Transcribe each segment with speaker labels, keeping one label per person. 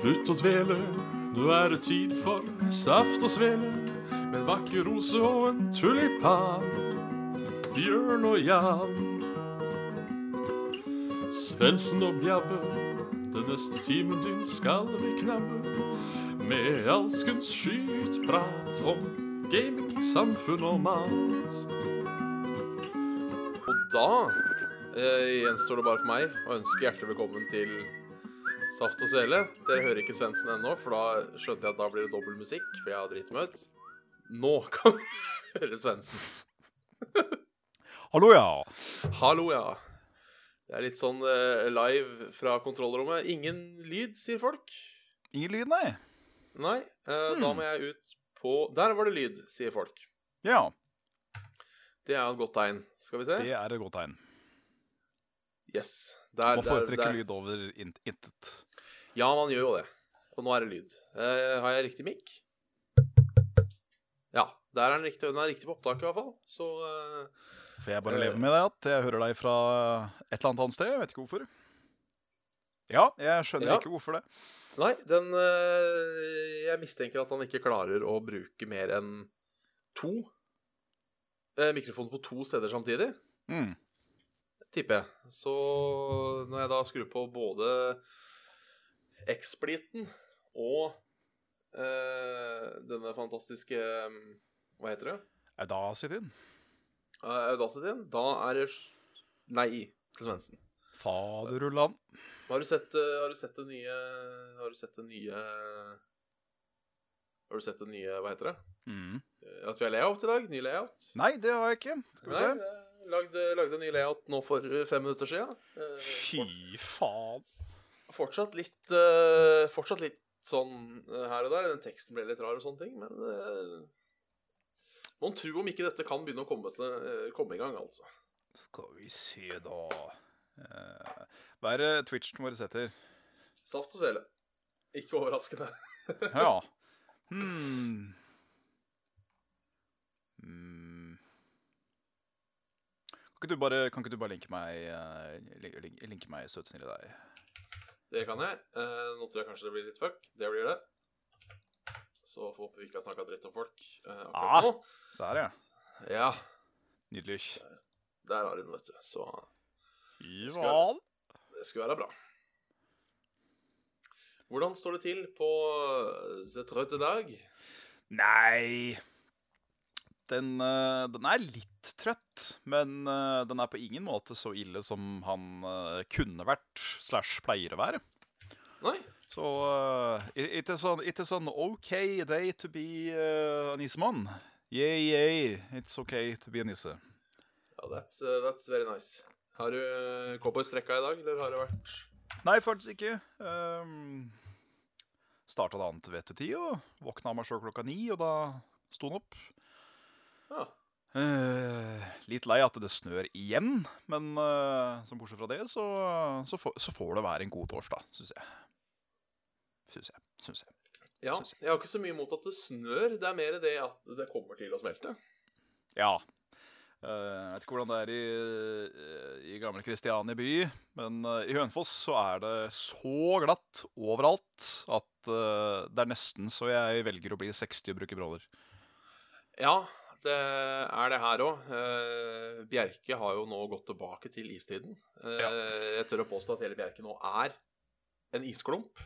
Speaker 1: Slutt å dvele, nå er det tid for saft og svele. Med en vakker rose og en tulipan. Bjørn og Jan. Svendsen og Bjabbe, den neste timen din skal vi knabbe. Med alskens skytprat om gaming, samfunn og mat.
Speaker 2: Og da eh, gjenstår det bare for meg å ønske hjertelig velkommen til Saft og Svele. Dere hører ikke Svendsen ennå, for da skjønte jeg at da blir det dobbel musikk, for jeg har dritmøt. Nå kan vi høre Svendsen.
Speaker 3: Hallo, ja.
Speaker 2: Hallo, ja. Det er litt sånn eh, live fra kontrollrommet. Ingen lyd, sier folk.
Speaker 3: Ingen lyd, nei.
Speaker 2: Nei, eh, da
Speaker 3: Hmm.
Speaker 2: må jeg ut på Der var det lyd, sier folk.
Speaker 3: Ja,
Speaker 2: Det er jo et godt tegn. Skal vi se.
Speaker 3: det er et godt tegn.
Speaker 2: Yes. Der,
Speaker 3: Man
Speaker 2: der,
Speaker 3: foretrekker
Speaker 2: der.
Speaker 3: lyd over int- intet.
Speaker 2: Ja, man gjør jo det. Og nå er det lyd. Eh, har jeg riktig mikk? Ja. Der er den riktig, den er riktig på opptaket, i hvert fall. Så eh,
Speaker 3: For jeg bare
Speaker 2: Eh.
Speaker 3: lever med deg at jeg hører deg fra et eller annet annet sted. Jeg vet ikke hvorfor. Ja, jeg skjønner
Speaker 2: Ja.
Speaker 3: ikke hvorfor det.
Speaker 2: Nei, den eh, Jeg mistenker at han ikke klarer å bruke mer enn to eh, mikrofoner på to steder samtidig,
Speaker 3: Mm.
Speaker 2: tipper jeg. Så når jeg da skrur på både X-spliten og eh, denne fantastiske eh, Hva heter det?
Speaker 3: Audacity-en.
Speaker 2: Eh, Audacity, da er det s- Nei til Svendsen. Eh.
Speaker 3: Faderullan.
Speaker 2: Har du sett, eh, har du sett det nye Har du sett det nye Har du sett det nye, hva heter det?
Speaker 3: Mm.
Speaker 2: Eh, At vi har layout i dag? Ny layout?
Speaker 3: Nei, det har jeg ikke. Skal vi
Speaker 2: Nei,
Speaker 3: se.
Speaker 2: eh, lagde, lagde en ny layout nå for eh, fem minutter siden. Eh,
Speaker 3: Fy faen.
Speaker 2: fort- Fortsatt litt eh, Fortsatt litt sånn eh, her og der. Den teksten ble litt rar og sånne ting, men eh, Mon tro om ikke dette kan begynne å komme, til, eh, komme i gang, altså.
Speaker 3: Skal vi se, da. Eh, Hva er det Twitchen vår heter?
Speaker 2: Saft og svele. Ikke overraskende.
Speaker 3: Ja. Hmm. Hmm. Kan ikke du bare, kan ikke du bare linke meg, eh, lin- lin- linke meg søt snille deg?
Speaker 2: Det kan jeg. Eh, nå tror jeg kanskje det blir litt fuck. Det blir det. Så får håpe vi ikke har snakka dritt om folk eh, akkurat
Speaker 3: Ah.
Speaker 2: nå.
Speaker 3: Så her, ja.
Speaker 2: Ja,
Speaker 3: Nydelig.
Speaker 2: der har hun den, vet du. Så eh,
Speaker 3: Ja.
Speaker 2: det skulle være bra. Hvordan står det til på eh, The Trøtte Dag?
Speaker 3: Nei den, eh, den er litt trøtt, men eh, den er på ingen måte så ille som han eh, kunne vært slash pleier å være.
Speaker 2: Nei?
Speaker 3: Så uh, it, it, is an, it is an okay sånn day to be uh, a nissemann. Yay, yay, it's okay to be a nisse.
Speaker 2: Ja, that's, eh, that's very nice. Har du eh, cowboystrekka i dag, eller har det vært
Speaker 3: Nei, faktisk ikke. Um, Starta da annet vettet ti, og våkna av meg sjøl klokka ni, og da sto han opp.
Speaker 2: Ja.
Speaker 3: Eh, litt lei at det snør igjen, men eh, som bortsett fra det, så, så, får- så får det være en god torsdag, syns jeg. Syns jeg. Syns jeg.
Speaker 2: ja.
Speaker 3: Synes
Speaker 2: Jeg har ikke så mye imot at det snør. Det er mer det at det kommer til å smelte.
Speaker 3: Ja. Eh, Jeg vet ikke hvordan det er i, eh, i gamle Kristiania by, men eh, i Hønefoss så er det så glatt overalt at eh, det er nesten så jeg velger å bli 60 og bruke briller.
Speaker 2: Ja, det er det her òg. Eh, Bjerke har jo nå gått tilbake til istiden. Eh, Jeg tør å påstå at hele Bjerke nå er en isklump.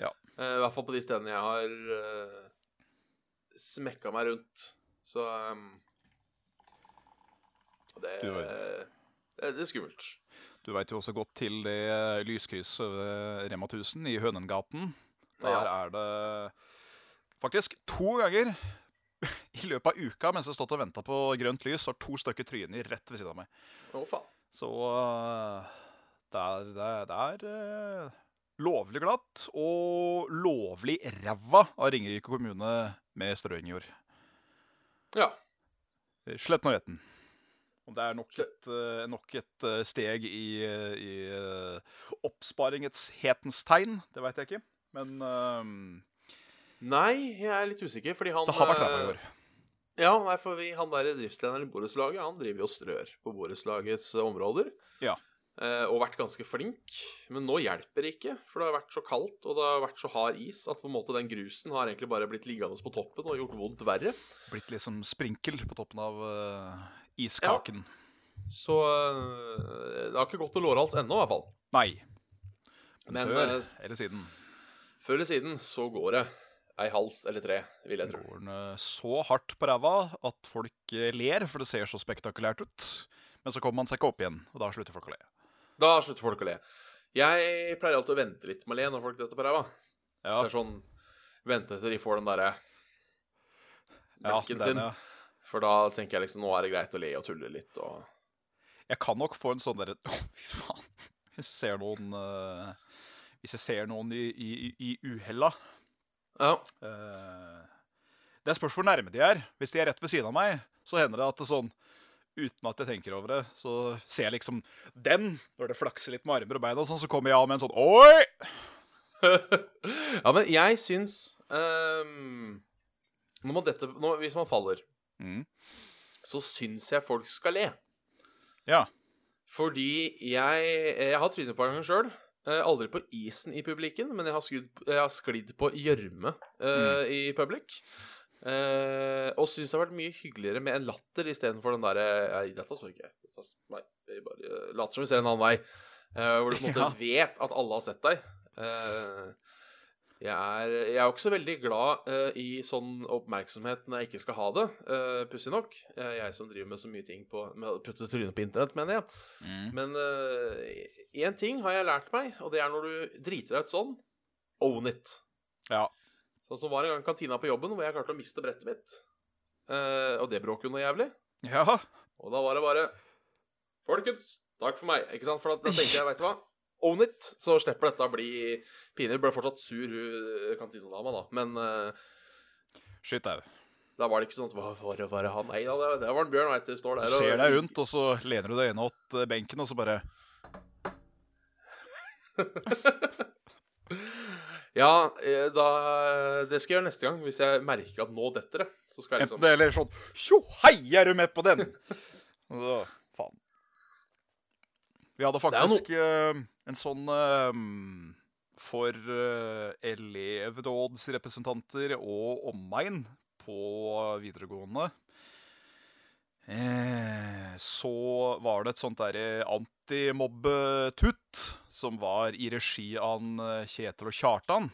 Speaker 3: Ja.
Speaker 2: Eh, I hvert fall på de stedene jeg har eh, smekka meg rundt. Så eh, det,
Speaker 3: Du har-
Speaker 2: det, det er skummelt.
Speaker 3: Du veit jo også godt til det eh, lyskrysset ved Rema 1000 i Hønengaten. Der
Speaker 2: Ja.
Speaker 3: er det faktisk to ganger i løpet av uka mens jeg har stått og venta på grønt lys, så har to stykker trynet rett ved siden av meg.
Speaker 2: Å, faen.
Speaker 3: Så øh, det er, det er, det er øh, lovlig glatt og lovlig ræva av Ringerike kommune med strøingjord.
Speaker 2: Ja.
Speaker 3: Slett nå retten. Om det er nok et, øh, nok et øh, steg i, øh, i øh, oppsparingets hetens tegn, det veit jeg ikke. Men øhm,
Speaker 2: Nei, jeg er litt usikker, fordi han
Speaker 3: det har vært ræva
Speaker 2: eh,
Speaker 3: i år.
Speaker 2: Ja, nei, for vi, han der driftslederen i borettslaget, han driver jo og strør på borettslagets eh, områder.
Speaker 3: Ja.
Speaker 2: eh, og vært ganske flink, men nå hjelper det ikke, for det har vært så kaldt og det har vært så hard is at på en måte den grusen har egentlig bare blitt liggende på toppen og gjort vondt verre.
Speaker 3: Blitt liksom sprinkel på toppen av eh, iskaken.
Speaker 2: Så eh, det har ikke gått noe lårhals ennå, i hvert fall.
Speaker 3: Nei. Men
Speaker 2: Men,
Speaker 3: før
Speaker 2: eh,
Speaker 3: eller siden
Speaker 2: Før eller siden så går det ei hals eller tre, vil jeg tro.
Speaker 3: går den eh, så hardt på ræva at folk eh, ler, for det ser så spektakulært ut. Men så kommer man seg ikke opp igjen, og da slutter folk å le.
Speaker 2: Da slutter folk å le. Jeg pleier alltid å vente litt med å le når folk detter på ræva.
Speaker 3: Ja,
Speaker 2: Det er sånn Vente til de får den derre blikken sin.
Speaker 3: ja.
Speaker 2: For da tenker jeg liksom nå er det greit å le og tulle litt og
Speaker 3: Jeg kan nok få en sånn derre Å, fy faen. Hvis jeg ser noen eh, Hvis jeg ser noen i, i, i i uhella
Speaker 2: Ja.
Speaker 3: Eh, Det spørs hvor nærme de er. Hvis de er rett ved siden av meg, så hender det at det sånn Uten at jeg tenker over det, så ser jeg liksom den. Når det flakser litt med armer og bein, og sånn, så kommer jeg av med en sånn Oi!
Speaker 2: ja, men jeg syns ehm, når man detter, når, Hvis man faller,
Speaker 3: Mm.
Speaker 2: så syns jeg folk skal le.
Speaker 3: Ja.
Speaker 2: Fordi jeg, eh, jeg har trynet på en gang sjøl. Aldri på isen i publikken, men jeg har, skudd, jeg har sklidd på gjørme eh, i public. Eh, og syns det har vært mye hyggeligere med en latter istedenfor den derre Nei, dette så ikke jeg. Dette så- Nei, jeg bare eh, later som vi ser en annen vei. Eh, hvor du på en måte
Speaker 3: Ja.
Speaker 2: vet at alle har sett deg. Eh, jeg, er, jeg er jo ikke så veldig glad eh, i sånn oppmerksomhet når jeg ikke skal ha det, uh, pussig nok. Eh, jeg som driver med så mye ting på Med å putte trynet på internett, mener jeg. Men én ting har jeg lært meg, og det er når du driter deg ut sånn, own it.
Speaker 3: Ja.
Speaker 2: Sånn som var en gang i kantina på jobben, hvor jeg klarte å miste brettet mitt. Eh, og det bråker jo noe jævlig.
Speaker 3: Ja.
Speaker 2: Og da var det bare Folkens, takk for meg. Ikke sant? For da, da tenkte jeg, veit du hva, own it, så slipper dette å bli pinlig. Ble fortsatt sur, hun kantinedama, da. Men eh,
Speaker 3: Shit au.
Speaker 2: da var det ikke sånn at Hva var det, var det han? Nei da, det, det var en bjørn, veit du. Står
Speaker 3: Du
Speaker 2: der
Speaker 3: ser deg rundt, og så lener du deg inn åt eh, benken, og så bare
Speaker 2: Ja, eh, da, det skal jeg gjøre neste gang. Hvis jeg merker at nå detter det, så skal jeg
Speaker 3: Enten
Speaker 2: liksom
Speaker 3: det eller sånn Tjo, hei, er du med på den? Og Så, faen. Vi hadde
Speaker 2: er jo
Speaker 3: faktisk eh, en sånn eh, for eh, elevrådsrepresentanter og omegn på videregående. Eh, så var det et sånt derre antimobbetut som var i regi av en, eh, Kjetil og Kjartan.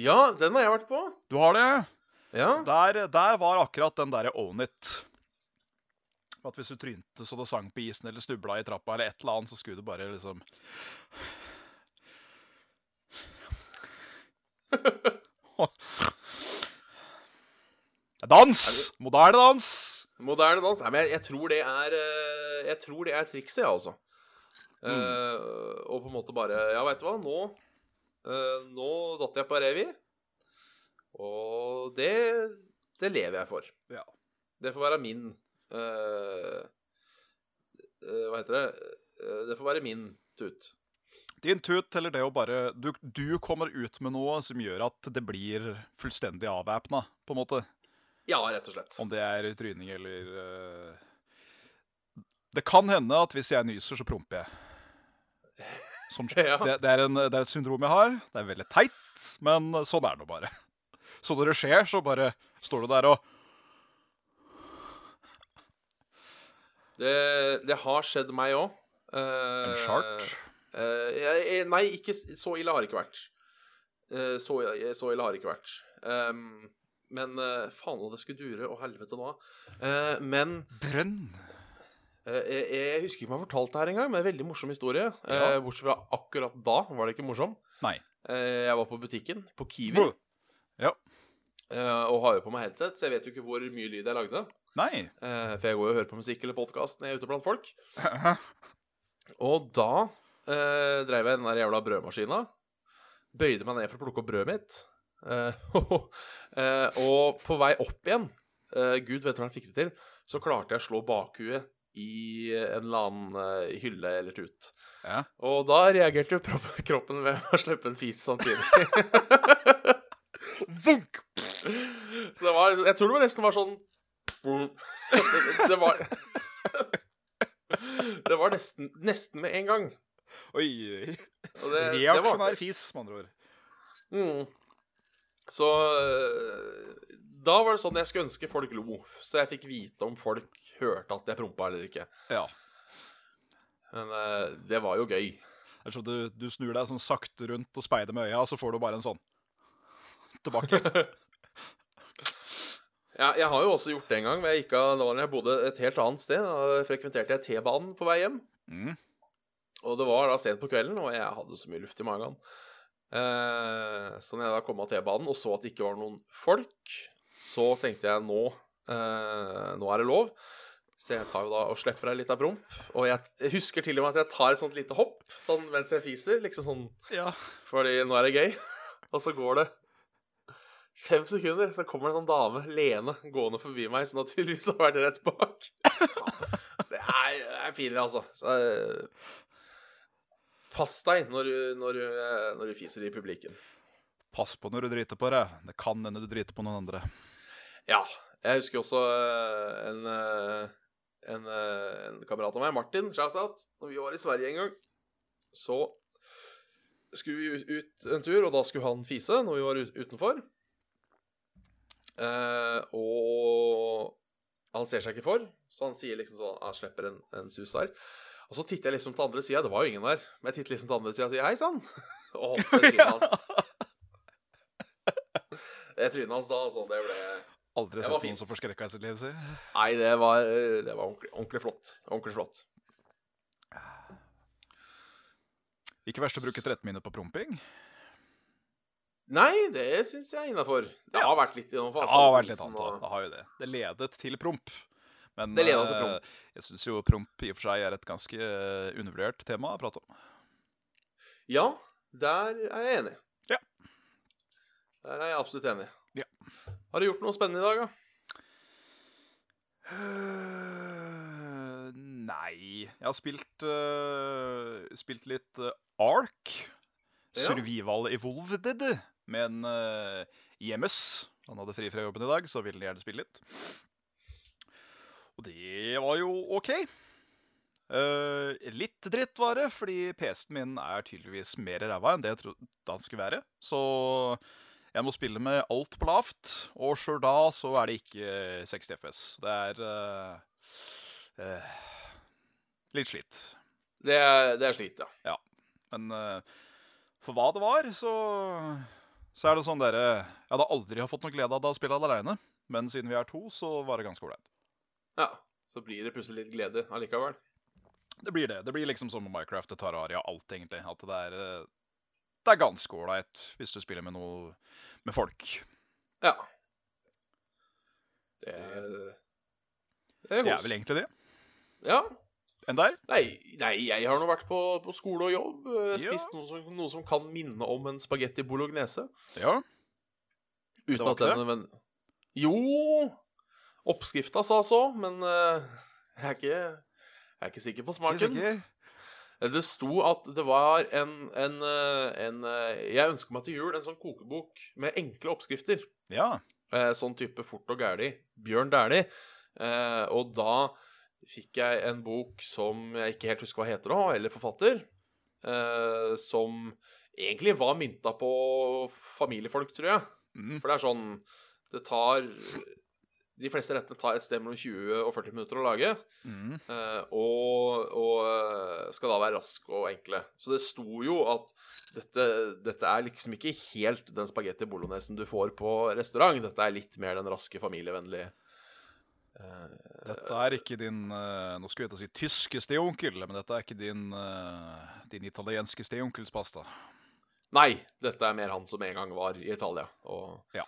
Speaker 2: Ja, den har jeg vært på.
Speaker 3: Du har det?
Speaker 2: Ja.
Speaker 3: Der, der var akkurat den derre own it. At hvis du trynte så det sang på isen eller snubla i trappa eller et eller annet, så skulle du bare liksom Dans! Moderne dans!
Speaker 2: Moderne dans. Nei, men jeg, jeg tror det er eh, Jeg tror det er trikset, jeg, altså. Eh, og på en måte bare Ja, veit du hva, nå eh, Nå datt jeg på revy, og det Det lever jeg for.
Speaker 3: Ja.
Speaker 2: Det får være min eh, eh, Hva heter det? Eh, det får være min tut.
Speaker 3: Din tut, eller det å bare du, du kommer ut med noe som gjør at det blir fullstendig avvæpna, på en måte.
Speaker 2: Ja, rett og slett.
Speaker 3: Om det er tryning eller eh, Det kan hende at hvis jeg nyser, så promper jeg. Som,
Speaker 2: Ja.
Speaker 3: det, det, er en, det er et syndrom jeg har. Det er veldig teit, men sånn er det nå bare. Så når det skjer, så bare står du der og
Speaker 2: Det, det har skjedd meg Eh, òg.
Speaker 3: En chart.
Speaker 2: nei, ikke, s- så ille har det ikke vært. Eh, så, så ille har det ikke vært. Ehm, men eh, faen og det skulle dure, og helvete nå. Eh, men
Speaker 3: Brønn.
Speaker 2: eh, jeg, jeg husker ikke om jeg har fortalt det her engang, men det er en veldig morsom historie.
Speaker 3: Ja.
Speaker 2: Eh, bortsett fra akkurat da var det ikke morsom.
Speaker 3: Nei.
Speaker 2: Eh, jeg var på butikken, på Kiwi, eh, og har jo på meg headset, så jeg vet jo ikke hvor mye lyd jeg lagde.
Speaker 3: Nei.
Speaker 2: Eh, for jeg går jo og hører på musikk eller podkast når jeg er ute blant folk. Og da eh, dreiv jeg den der jævla brødmaskina. Bøyde meg ned for å plukke opp brødet mitt. Eh, eh, og på vei opp igjen, eh, gud vet hvordan jeg fikk det til, så klarte jeg å slå bakhuet i en eller annen eh, hylle eller tut.
Speaker 3: Ja.
Speaker 2: Og da reagerte jo prop- kroppen ved å slippe en fis samtidig.
Speaker 3: Vunk!
Speaker 2: Så det var liksom, Jeg tror det var nesten var sånn Det, det var Det var nesten, nesten med en gang.
Speaker 3: Oi, oi.
Speaker 2: Og det, det var
Speaker 3: Reaksjonær fis, med andre ord.
Speaker 2: Mm. Så øh, da var det sånn jeg skulle ønske folk lo, så jeg fikk vite om folk hørte at jeg prompa eller ikke.
Speaker 3: Ja.
Speaker 2: Men øh, det var jo gøy.
Speaker 3: Det er sånn du, du snur deg sånn sakte rundt og speider med øya, og så får du bare en sånn tilbake.
Speaker 2: Ja, jeg har jo også gjort det en gang. hvor Jeg gikk av, det var når jeg bodde et helt annet sted. Da frekventerte jeg T-banen på vei hjem.
Speaker 3: Mm.
Speaker 2: Og det var da sent på kvelden, og jeg hadde så mye luft i magen. Eh, så når jeg da kom av T-banen og så at det ikke var noen folk, så tenkte jeg nå eh, Nå er det lov. Så jeg tar jo da og slipper ei lita promp. Og jeg, jeg husker til og med at jeg tar et sånt lite hopp sånn mens jeg fiser. Liksom sånn
Speaker 3: Ja.
Speaker 2: fordi nå er det gøy. Og så går det fem sekunder, så kommer det en sånn dame, Lene, gående forbi meg, som naturligvis har vært rett bak. Det er, det er pinlig, altså. Så, eh, pass deg når du, når, du, eh, når du fiser i publikken.
Speaker 3: Pass på når du driter på deg. Det kan hende du driter på noen andre.
Speaker 2: Ja. Jeg husker også eh, en, eh, en, eh, en kamerat av meg, Martin, shoutout, når vi var i Sverige en gang, så skulle vi ut- ut en tur, og da skulle han fise når vi var ut- utenfor. Eh, og han ser seg ikke for, så han sier liksom sånn Han slipper en, en sus her. Og så titter jeg liksom til andre sida, det var jo ingen der, men jeg titter liksom til andre sida og sier hei sann. Og holdt det trynet hans. Det trynet hans da, altså, det ble
Speaker 3: Aldri
Speaker 2: Det
Speaker 3: sett
Speaker 2: var
Speaker 3: noen
Speaker 2: fint.
Speaker 3: som forskrekka i sitt liv, si.
Speaker 2: Nei, det var, det var ordentlig, ordentlig flott. Ordentlig flott.
Speaker 3: Ikke verst å bruke 13 minutter på promping.
Speaker 2: Nei, det syns jeg er innafor. Det har vært litt innafor.
Speaker 3: Ja, det har vært Ah, litt annet, da. det har jo det. Det ledet til promp. Men
Speaker 2: Det ledet til promp.
Speaker 3: eh, jeg syns jo promp i og for seg er et ganske eh, undervurdert tema å prate om.
Speaker 2: Ja, der er jeg enig.
Speaker 3: Ja.
Speaker 2: Der er jeg absolutt enig.
Speaker 3: Ja.
Speaker 2: Har du gjort noe spennende i dag, da?
Speaker 3: Eh, Nei Jeg har spilt, eh, spilt litt eh, Ark.
Speaker 2: Ja.
Speaker 3: Survival Evolved med en eh, IMS. Han hadde fri fra jobben i dag, så ville han gjerne spille litt. Og det var jo OK. Eh, litt dritt var det, fordi PC-en min er tydeligvis mer ræva enn det jeg trodde han skulle være. Så jeg må spille med alt på lavt, og sjøl da så er det ikke eh, 60 FPS. Det er eh, eh, litt slitt.
Speaker 2: Det er, det er slit, ja.
Speaker 3: Men eh, for hva det var, så, så er det sånn dere Jeg hadde aldri har fått noe glede av det å spille aleine, men siden vi er to, så var det ganske ålreit.
Speaker 2: ja. Så blir det plutselig litt glede allikevel.
Speaker 3: Det blir det. Det blir liksom som med Minecraft og Terraria og alt, egentlig. At det er, eh, det er ganske ålreit hvis du spiller med noe med folk.
Speaker 2: Ja. Det er Det
Speaker 3: Det er vel egentlig det.
Speaker 2: Ja.
Speaker 3: Enn der?
Speaker 2: Nei, nei, jeg har nå vært på, på skole og jobb. eh,
Speaker 3: Ja.
Speaker 2: Spist noe, som, noe som kan minne om en spagetti bolognese.
Speaker 3: Ja. Det
Speaker 2: Uten
Speaker 3: var
Speaker 2: at
Speaker 3: ikke
Speaker 2: den nødvend- Jo Oppskrifta sa så, men eh, jeg, er ikke, jeg er ikke sikker på smaken. Eh, Det sto at det var en, en, eh, en eh, Jeg ønsker meg til jul en sånn kokebok med enkle oppskrifter.
Speaker 3: Ja.
Speaker 2: Eh, sånn type fort og gæli. Bjørn Dæhlie. Eh, og da fikk jeg en bok som jeg ikke helt husker hva heter da, eller forfatter, eh, som egentlig var mynta på familiefolk, tror jeg.
Speaker 3: Mm.
Speaker 2: For det er sånn Det tar De fleste rettene tar et sted mellom 20 og 40 minutter å lage.
Speaker 3: Mm.
Speaker 2: eh, Og, og eh, skal da være raske og enkle. Så det sto jo at dette, dette er liksom ikke helt den spagetti bolognesen du får på restaurant. Dette er litt mer den raske, familievennlige eh,
Speaker 3: Dette er ikke din eh, Nå skulle jeg til å si tyske steonkel, men dette er ikke din, eh, din italienske steonkelspasta.
Speaker 2: Nei, dette er mer han som en gang var i Italia og
Speaker 3: Ja.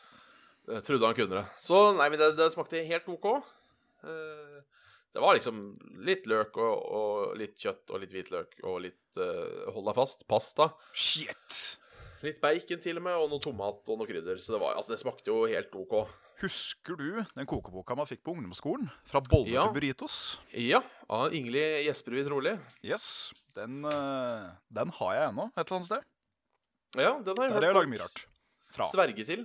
Speaker 2: eh, trodde han kunne det. Så nei, men det, det smakte helt OK. Eh, det var liksom litt løk og, og litt kjøtt og litt hvitløk og litt eh, Hold deg fast pasta.
Speaker 3: Shit!
Speaker 2: Litt bacon til og med, og noe tomat og noe krydder. Så det, var, altså, det smakte jo helt OK.
Speaker 3: Husker du den kokeboka man fikk på ungdomsskolen? Fra boller
Speaker 2: Ja.
Speaker 3: til burritos?
Speaker 2: Ja, av Ingrid Jespervid Trolig.
Speaker 3: Yes. Den, eh, den har jeg ennå, et eller annet sted.
Speaker 2: Ja, den har
Speaker 3: Der
Speaker 2: jeg
Speaker 3: har
Speaker 2: hørt
Speaker 3: jeg lagd
Speaker 2: folk
Speaker 3: mye rart. Fra.
Speaker 2: Sverge til.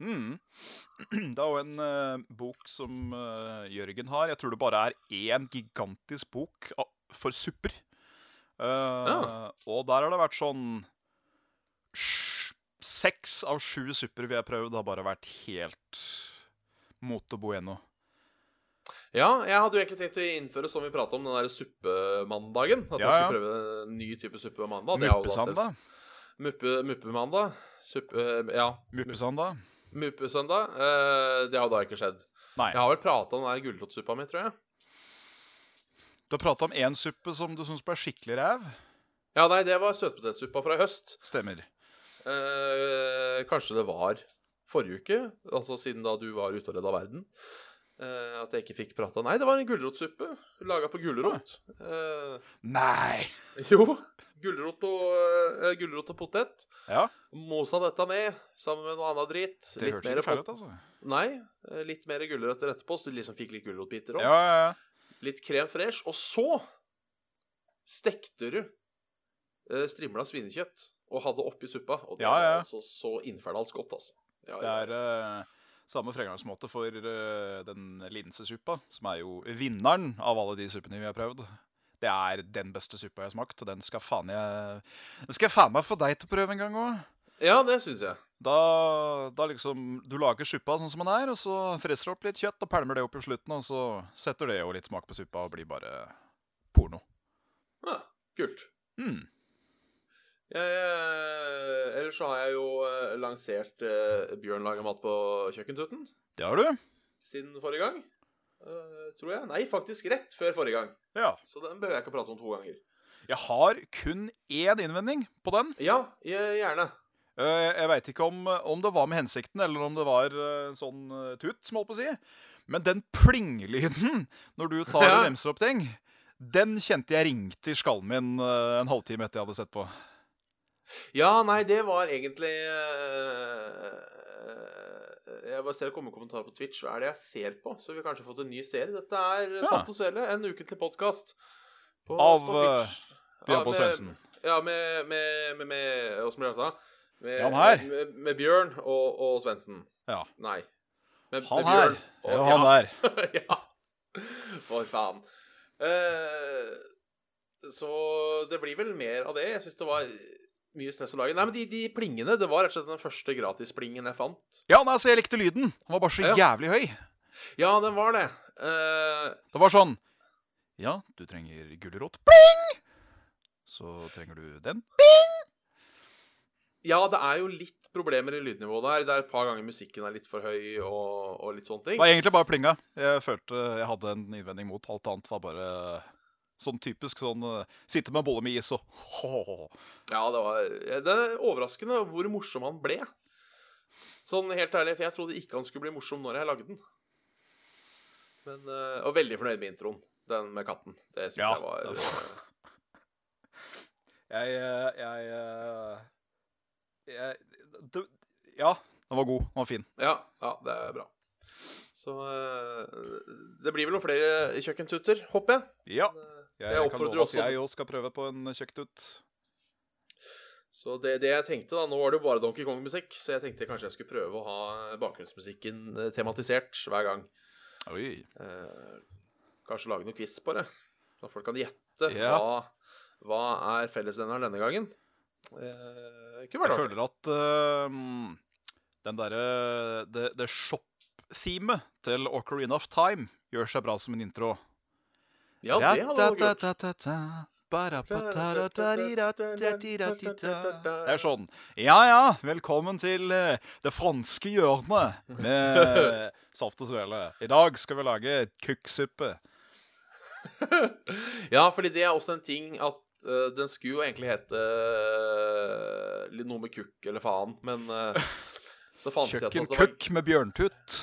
Speaker 3: Mm. Det er jo en eh, bok som eh, Jørgen har. Jeg tror det bare er én gigantisk bok av for supper. Eh, Og der har det vært sånn sj- Seks av sju supper vi har prøvd, har bare vært helt mote bueno.
Speaker 2: Ja, jeg hadde jo egentlig tenkt å innføre som vi pratet om, den der suppemandagen. At
Speaker 3: Ja,
Speaker 2: jeg
Speaker 3: ja.
Speaker 2: skulle prøve en ny type suppe på mandag. det er jo da
Speaker 3: Muppesanda.
Speaker 2: selvsagt- Muppe- Muppemandag. Suppe... eh, Ja.
Speaker 3: Muppesanda.
Speaker 2: Muppesøndag. Eh, det har da ikke skjedd.
Speaker 3: Nei.
Speaker 2: Jeg har vel prata om den der gulrotsuppa mi, tror jeg.
Speaker 3: Du har prata om én suppe som du syns ble skikkelig ræv.
Speaker 2: Ja, nei, det var søtpotetsuppa fra i høst.
Speaker 3: Stemmer.
Speaker 2: Eh, kanskje det var forrige uke, altså siden da du var ute og redda verden. eh, at jeg ikke fikk prata. Nei, det var en gulrotsuppe laga på gulrot. Eh,
Speaker 3: Nei!
Speaker 2: jo. Gulrot og, eh, gulrot og potet.
Speaker 3: Ja,
Speaker 2: Mosa dette med sammen med noe annet dritt.
Speaker 3: det hørtes ikke feil ut, altså.
Speaker 2: Nei, eh, litt mer gulrøtter etterpå, så du liksom fikk litt gulrotbiter òg.
Speaker 3: Ja, ja, ja.
Speaker 2: Litt krem fresh. Og så stekte du eh, strimla svinekjøtt og hadde oppi suppa. Og det
Speaker 3: Ja, ja.
Speaker 2: var altså så innferdals godt, altså. Ja,
Speaker 3: Det
Speaker 2: ja.
Speaker 3: er eh, samme fremgangsmåte for eh, den linsesuppa, som er jo vinneren av alle de suppene vi har prøvd. Det er den beste suppa jeg har smakt, og den skal faen jeg Den skal jeg faen meg få deg til å prøve en gang òg.
Speaker 2: ja det syns jeg.
Speaker 3: Da, da liksom Du lager suppa sånn som den er, og så freser du opp litt kjøtt og pælmer det opp i slutten, og så setter det jo litt smak på suppa og blir bare porno.
Speaker 2: Ja, kult.
Speaker 3: Mm.
Speaker 2: Jeg, eh, ellers så har jeg jo eh, lansert eh, Bjørn lager mat på kjøkkentuten
Speaker 3: Det har du?
Speaker 2: siden forrige gang. Eh, tror jeg. Nei, faktisk rett før forrige gang.
Speaker 3: Ja.
Speaker 2: Så den behøver jeg ikke å prate om to ganger.
Speaker 3: Jeg har kun én innvending på den.
Speaker 2: Ja, jeg, gjerne.
Speaker 3: Eh, Jeg veit ikke om, om det var med hensikten, eller om det var eh, en sånn eh, tut, som jeg holdt på å si. Men den plingelyden når du tar
Speaker 2: Ja.
Speaker 3: og remser opp ting, den kjente jeg ringte i skallen min eh, en halvtime etter jeg hadde sett på.
Speaker 2: Ja, nei, det var egentlig eh, Jeg bare ser det kommer kommentarer på Twitch. Hva er det jeg ser på? Så vi har kanskje fått en ny serie. Dette er
Speaker 3: Ja.
Speaker 2: Saft og Svele, en ukentlig podkast.
Speaker 3: Av, eh, Bjørn Pål Svendsen.
Speaker 2: Ja, med, med, med, med Åssen blir det sagt? Med,
Speaker 3: Ja, han her.
Speaker 2: Med, med Bjørn og, og Svendsen.
Speaker 3: Ja.
Speaker 2: Nei. Med,
Speaker 3: Han
Speaker 2: med
Speaker 3: her.
Speaker 2: Bjørn og-
Speaker 3: Ja, han der.
Speaker 2: ja. For faen. Eh, så det blir vel mer av det. Jeg syns det var mye stress å lage. Nei, men de, de plingene, det var rett og slett den første gratisplingen jeg fant.
Speaker 3: Ja, nei, så jeg likte lyden. Han var bare så
Speaker 2: Ja.
Speaker 3: jævlig høy.
Speaker 2: Ja, den var det. Eh,
Speaker 3: Det var sånn Ja, du trenger gulrot. Pling! Så trenger du den.
Speaker 2: ja, det er jo litt problemer i lydnivået der. Det er et par ganger musikken er litt for høy og, og litt sånne
Speaker 3: Det
Speaker 2: ting.
Speaker 3: var egentlig bare plinga. Jeg følte jeg hadde en innvending mot. Alt annet var bare sånn typisk sånn eh, Sitte med en bolle med is og
Speaker 2: Ja, det var eh, Det er overraskende hvor morsom han ble. Sånn helt ærlig, for jeg trodde ikke han skulle bli morsom når jeg lagde den. Men, eh, og veldig fornøyd med introen. Den med katten. Det syns
Speaker 3: Ja,
Speaker 2: jeg var, eh,
Speaker 3: det Jeg eh, Jeg, eh, jeg det, Ja, den var god. Den var fin.
Speaker 2: Ja, ja, det er bra. Så eh, det blir vel noen flere kjøkkentuter, håper jeg.
Speaker 3: Ja.
Speaker 2: eh, Jeg jeg kan oppfordrer love at også- jeg
Speaker 3: òg skal prøve på en kjøkkentut.
Speaker 2: Så det, det jeg tenkte da, Nå var det jo bare Donkey Kong-musikk, så jeg tenkte kanskje jeg skulle prøve å ha bakgrunnsmusikken eh, tematisert hver gang.
Speaker 3: Oi.
Speaker 2: Eh, kanskje lage noe quiz på det. Så folk kan gjette
Speaker 3: Ja.
Speaker 2: hva, hva er fellesnevneren denne gangen. Eh, det kunne
Speaker 3: Jeg
Speaker 2: vært artig.
Speaker 3: føler at eh, den derre Det, det shop-themet til Ocarina of Time gjør seg bra som en intro.
Speaker 2: Ja, det hadde vært kult.
Speaker 3: Ta-ta-ta-ta-ta, barapataratariratatiratatita. Det er sånn Ja ja, velkommen til eh, det franske hjørnet med saft og svele. I dag skal vi lage kukksuppe.
Speaker 2: Ja, fordi det er også en ting at eh, den skulle jo egentlig hete eh, litt noe med kukk eller faen, men eh, så fant jeg ut at det sånn var,
Speaker 3: Kjøkkenkukk med bjørntut.